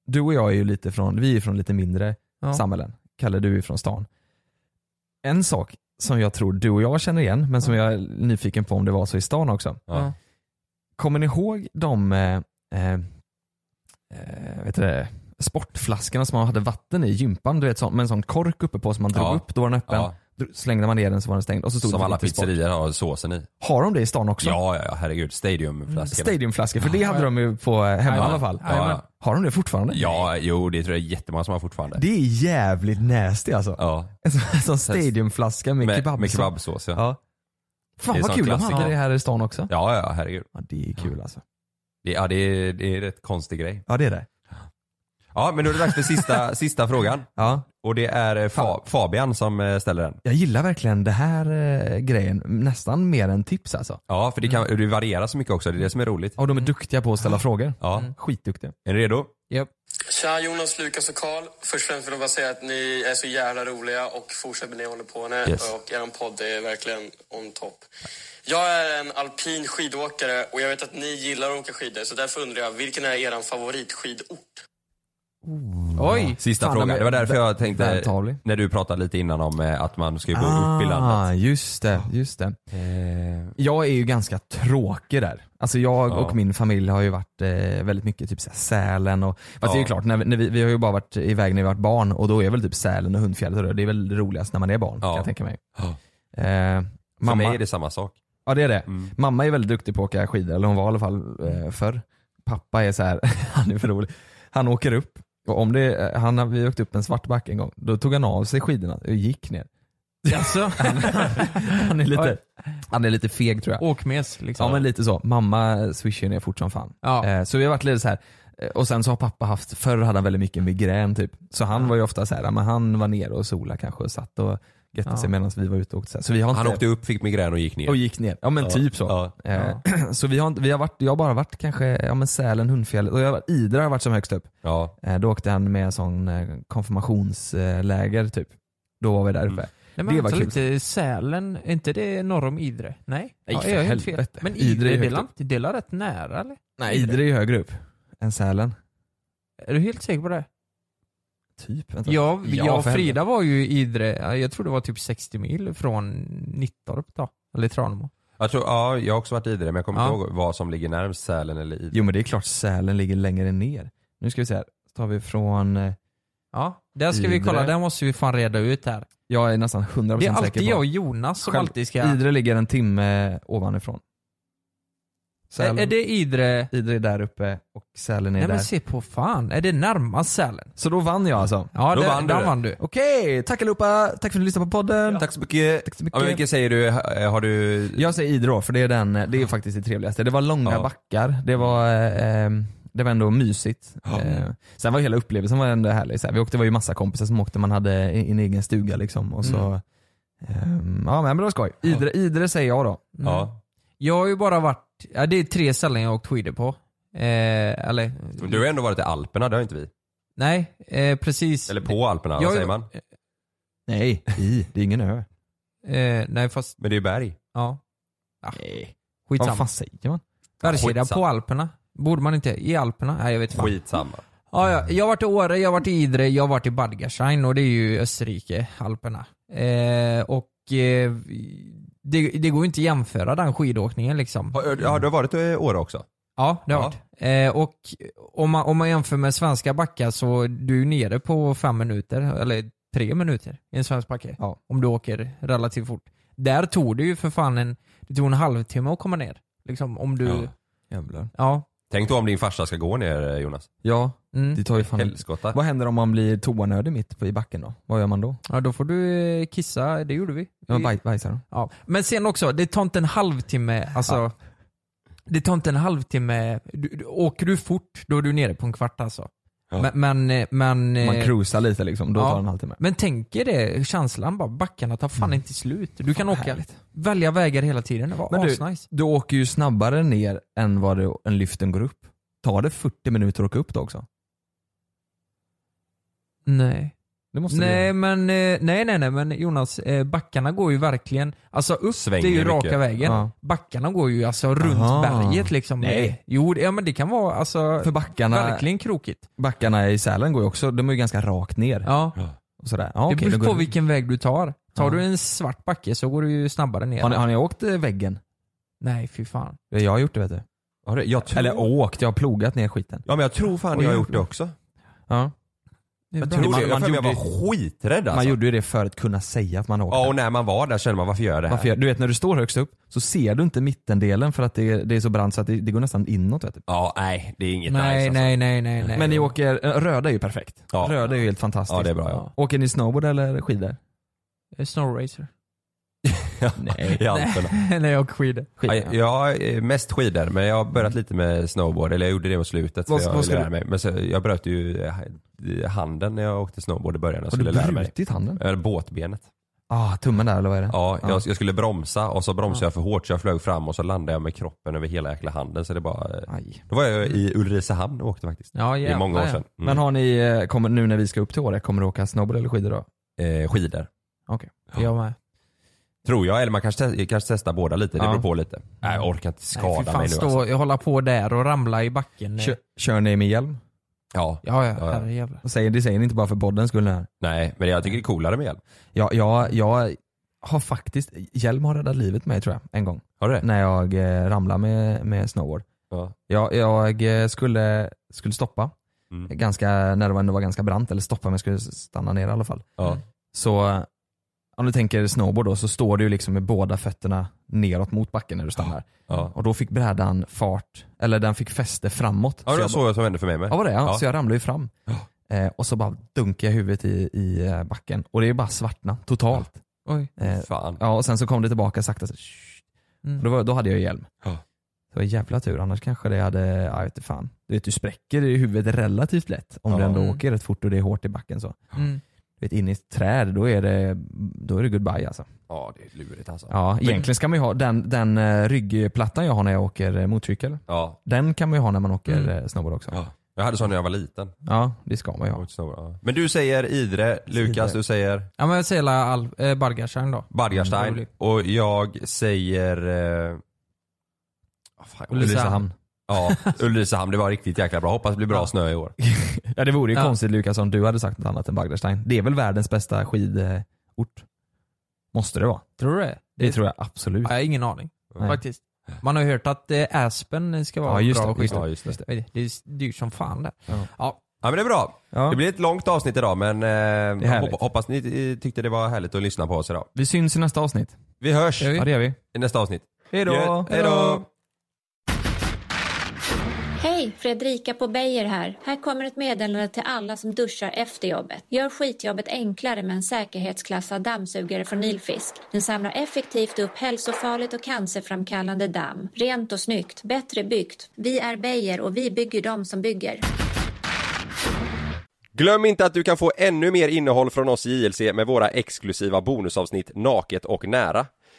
du och jag är ju lite från, vi är från lite mindre Ja. samhällen. Kalle, du är från stan. En sak som jag tror du och jag känner igen, men som jag är nyfiken på om det var så i stan också. Ja. Kommer ni ihåg de eh, eh, eh, vet du det, sportflaskorna som man hade vatten i i gympan, du vet, så, med en sån kork uppe på som man drog Ja. upp, då var den öppen. Ja. Dro- Slängde man ner den så var den stängd. Och så stod Som det alla lite sport. pizzerior har såsen i. Har de det i stan också? Ja, ja, ja herregud. Mm. Stadiumflaskan. Stadiumflaskor, för det hade de ju på eh, hemma i Ja. alla fall. Ja, ja. Har de det fortfarande? Ja, jo det tror jag är jättemånga som har fortfarande. Det är jävligt nasty alltså. Ja. En sån, en sån stadiumflaska med, Med, kebabsås. med kebabsås ja. Ja. Fan Det är vad sån kul, de hade klassiker. det här i stan också. Ja, ja, herregud. Ja, det är kul alltså. Det, ja, det är, det är en rätt konstig grej. Ja det är det. Ja, men då är det dags för sista, sista frågan. Ja. Och det är eh, Fa- Fabian som eh, ställer den. Jag gillar verkligen det här eh, grejen, nästan mer än tips alltså. Ja, för det, kan, det varierar så mycket också. Det är det som är roligt. Och de är duktiga på att ställa frågor. Mm. Ja. Skitduktiga. Är ni redo? Yep. Tja Jonas, Lukas och Karl. Först och främst vill jag bara säga att ni är så jävla roliga och fortsätt med det ni håller på med. Yes. Och er podd är verkligen on top. Jag är en alpin skidåkare och jag vet att ni gillar att åka skidor så därför undrar jag, vilken är er favoritskidort? Oj! Sista Fan, frågan. de är Det var därför jag tänkte, vältalig. när du pratade lite innan om eh, att man ska ju bo upp i landet. Ah, eh, just det, just det. Jag är ju ganska tråkig där. Alltså jag Ja. och min familj har ju varit eh, väldigt mycket typ så här Sälen och, fast det är ju Ja. klart, när, vi- när vi, vi har ju bara varit iväg när vi varit barn och då är väl typ Sälen och Hundfjället och det, det är väl roligast när man är barn kan jag tänka mig. Eh, För mig är det samma sak. Mm. Ja det är det. Mamma är väldigt duktig på att åka skidor, eller hon var i alla fall eh, förr. Pappa är så här, han är för rolig. Han åker upp, och om det, är- han, har- vi åkte upp en svartback en gång, då tog han av sig skidorna och gick ner. Alltså, Han är lite, han är lite feg tror jag. Åkmes liksom. Ja men lite så. Mamma swishar ner fort som fan. Eh, Så vi har varit lite så här. eh, Och sen så har pappa haft, förr hade han väldigt mycket migrän typ. Så han var ju ofta så här, ja, men han var nere och sola kanske och satt och götte Ja. sig medan vi var ute och åkte. Så, här. så vi har inte Han åkte upp, fick migrän och gick ner. och gick ner. Ja men typ så. Eh, Så vi har, inte- vi har varit, jag har bara varit kanske, ja men Sälen, Hundfjället och jag, har varit- Idre har varit som högst upp. Eh, Då åkte han med sån eh, konfirmationsläger typ. Då var vi där uppe. Nej, men det var kul. Lite Sälen, är inte det norr om Idre? Nej? Nej, för jag har helt helvete. Men Idre är Idre, högt delar, upp. delar rätt nära eller? Nej Idre är ju högre upp än Sälen. Är du helt säker på det? Typ. vänta. Jag, Ja, jag och för Frida var ju i Idre, ja, jag tror det var typ 60 mil från Nittorp då. Eller Tranemo. Jag tror, ja, jag har också varit i det men jag kommer Ja. inte ihåg vad som ligger närmst Sälen eller Idre. Jo men det är klart Sälen ligger längre ner. Nu ska vi se här, så tar vi från... eh, Ja, Där ska vi kolla, där måste vi fan reda ut här. Jag är nästan 100% säker på. Det är alltid jag och Jonas som alltid ska... Idre ligger en timme ovanifrån. Sälen. Är- är det Idre? Idre är där uppe och Sälen är Nej där. men se på fan, är det närmast Sälen? Så då vann jag alltså? Ja, Då där, vann du där det. vann du. Okej, tack allihopa. Tack för att ni lyssnade på podden. Tack så mycket. Tack så mycket. Ja, men vilken säger du? Eh, Har du... Jag säger Idre då, för det är, den, det är faktiskt det trevligaste. Det var långa Ja. backar, det var, eh, eh, det var ändå mysigt. Eh, sen var hela upplevelsen var ändå härlig. Så här, vi åkte, det var ju massa kompisar som åkte, man hade en, en egen stuga liksom. Och så, Mm. ehm, ja men det var skoj. Idre, Idre säger jag då. Ja. Jag har ju bara varit, ja, det är tre ställen jag har åkt skidor på. Eh, eller, Du har ju ändå varit i Alperna, det har inte vi. nej, eh, precis. Eller på Alperna, Jag- vad säger man? Nej, i. Det är ingen ö. Eh, nej fast, Men det är ju berg. ja. Ah, skitsamma. Vad fan säger man? Bergskedja Skitsamma. på Alperna. Borde man inte? I Alperna? Nej jag vet inte. Skitsamma. Ja, ja, jag har varit i Åre, jag har varit i Idre, jag har varit i Badgerstein och det är ju Österrike, Alperna. Eh, och eh, det, det går ju inte att jämföra den skidåkningen liksom. Har, har du varit i Åre också? Ja, det har varit. Eh, och om man, om man jämför med svenska backar så du är ju nere på fem minuter, eller tre minuter i en svensk backe. Om du åker relativt fort. Där tog det ju för fan en, det tog en halvtimme att komma ner. Liksom om du... Ja. Jävlar. Ja. Tänk då om din farsa ska gå ner Jonas. Ja, Mm. det tar ju fan Helskotta. Vad händer om man blir toanödig mitt på- i backen då? Vad gör man då? Ja, då får du eh, kissa, det gjorde vi. Ja, Vi- baj, bajsar då? Ja. Men sen också, det tar inte en halvtimme, alltså. Ja. Det tar inte en halvtimme. Du, du, åker du fort, då är du nere på en kvart alltså. Ja. Men, men, eh, men... eh, Man cruisar lite liksom, då ja. tar det en halvtimme. Men tänk er det, känslan bara, backarna tar Mm. fan inte slut. Du kan åka, välja vägar hela tiden. Det var Men du, asnice. du åker ju snabbare ner än vad det, en lyften går upp. Tar det 40 minuter att åka upp då också? Nej. Det måste det nej, göra. men, eh, nej, nej, nej, men Jonas, eh, backarna går ju verkligen, alltså upp, Svänger det är ju mycket. raka vägen. Ja. Backarna går ju alltså runt Aha. berget liksom. Nej. Jo, det- ja men det kan vara alltså, För backarna, verkligen krokigt. backarna i Sälen går ju också, de är ju ganska rakt ner. Ja. Och sådär. Ja, det okej, då beror på går det- vilken väg du tar. Tar Ja. du en svart backe så går du ju snabbare ner. har, ni, har ni åkt eh, väggen? Nej, fy fan. Jag har gjort det vet du. Eller åkt, jag har plogat ner skiten. Ja men jag tror fan Oj, jag har gjort jävlar. det också. Ja. Jag tror det. Man- Jag man för mig jag gjorde- var skiträdd Man alltså. gjorde ju det för att kunna säga att man har åkt Ja där. och när man var där kände man varför gör jag det här? Varför gör, du vet när du står högst upp så ser du inte mittendelen för att det, är- det är så brant så att det, det går nästan inåt vet du. Ja nej det är inget Nej, nice alltså. nej, nej, nej, nej. Men ni åker, eh, röda är ju perfekt. Ja. Röda är ju helt fantastiskt. Ja, det är bra, ja. Åker ni snowboard eller skidor? Snowracer. Nej. I Alperna. När jag åker skidor. Ja, jag- jag har eh, mest skidor men jag har börjat lite med snowboard, eller jag gjorde det mot slutet. Så Vad- jag vad ville ska lära du- mig. Men så, jag bröt ju eh, handen när jag åkte snowboard i början. Jag Har du skulle lära mig. brutit handen? Eller båtbenet. Ah, tummen där eller vad är det? Ja, jag, Ja. jag skulle bromsa och så bromsade Ja. jag för hårt så jag flög fram och så landade jag med kroppen över hela jäkla handen. Så det bara, eh, Då var jag i Ulricehamn och åkte faktiskt. Ja, det är jävlar, många år sedan. Mm. Ja. Men har ni, eh, kommer, nu när vi ska upp till Åre, kommer du åka snowboard eller skidor då? Eh, skidor. Okej, jag med. Tror jag, eller man kanske, te- kanske testar båda lite. Det Ja. beror på lite. Nej, jag orkar inte skada Nej, fy fan, mig nu stå, alltså. Jag håller på där och ramla i backen. Kör, kör ni med hjälm? Ja. Ja, ja, Ja, ja. herrejävlar. Och säger- Det säger ni inte bara för poddens skull här. Nej, men jag tycker det är coolare med hjälm. Ja, jag, jag har faktiskt, hjälm har räddat livet mig tror jag, en gång. Har du det? När jag eh, ramlade med, med snowboard. Ja. Jag, jag eh, skulle, skulle stoppa, Mm. ganska, när det var- ändå var ganska brant, eller stoppa men jag skulle stanna ner i alla fall. Ja. Så eh, om du tänker snowboard då så står du ju liksom med båda fötterna neråt mot backen när du stannar. Ja. Och då fick brädan fart, eller den fick fäste framåt. Ja, det var så bara- jag som hände för mig med. Ja, var det? Ja, Ja. Så jag ramlade ju fram. Eh, och så bara dunkade jag huvudet i, i eh, backen och det är bara svartna totalt. Oj. Eh, Fan. Ja, och sen så kom det tillbaka sakta. Så, shh. Mm. då, var, då hade jag hjälm. Ja. Det var jävla tur, annars kanske det hade, ja, jag vet fan. Du, vet, du spräcker i huvudet relativt lätt om du Ja. ändå Mm. åker rätt fort och det är hårt i backen. Så. Mm. Du vet, inne i ett träd, då är det, då är det goodbye alltså. Ja, det är lurigt alltså. Ja, egentligen ska man ju ha den, den eh, ryggplattan jag har när jag åker eh, motorcykel. Ja. Den kan man ju ha när man åker Mm. eh, snowboard också. Ja. Jag hade sån när jag var liten. det ska man ju ha. Men du säger Idre, Lukas du säger Ja men jag säger la Al- eh, Bargarstjärn då. Mm, Badgarstein Roligt. och jag säger... Eh... ah, fan, Ulricehamn. Ja, Ulricehamn. Det var riktigt jäkla bra. Hoppas det blir bra snö i år. Ja det vore ju Ja. konstigt Lukas om du hade sagt något annat än Bagdadstein. Det är väl världens bästa skidort? Måste det vara? Tror du det? Det, tror jag absolut. Jag har ingen aning Nej. faktiskt. Man har ju hört att eh, Aspen ska vara Ja, just bra det, just det. skidor. Ja, just det. det. är dyrt som fan det. Ja. Ja men det är bra. Det blir ett långt avsnitt idag men eh, härligt. hop- hoppas ni eh, tyckte det var härligt att lyssna på oss idag. Vi syns i nästa avsnitt. Vi hörs Ja det gör vi. i nästa avsnitt. Hejdå. Gött. Hejdå. Hej, Fredrika på Beijer här. Här kommer ett meddelande till alla som duschar efter jobbet. Gör skitjobbet enklare med en säkerhetsklassad dammsugare från Nilfisk. Den samlar effektivt upp hälsofarligt och cancerframkallande damm. Rent och snyggt, bättre byggt. Vi är Beijer och vi bygger dem som bygger. Glöm inte att du kan få ännu mer innehåll från oss i JLC med våra exklusiva bonusavsnitt Naket och nära.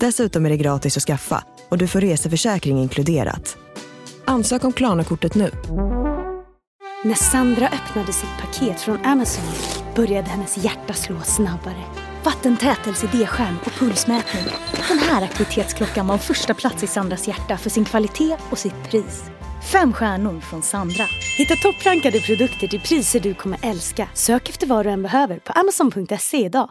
Dessutom är det gratis att skaffa och du får reseförsäkring inkluderat. Ansök om Klarna-kortet nu. När Sandra öppnade sitt paket från Amazon började hennes hjärta slå snabbare. Vattentätelse, D-skärm och pulsmätning. Den här aktivitetsklockan var en första plats i Sandras hjärta för sin kvalitet och sitt pris. Fem stjärnor från Sandra. Hitta topprankade produkter till priser du kommer älska. Sök efter vad du än behöver på amazon.se idag.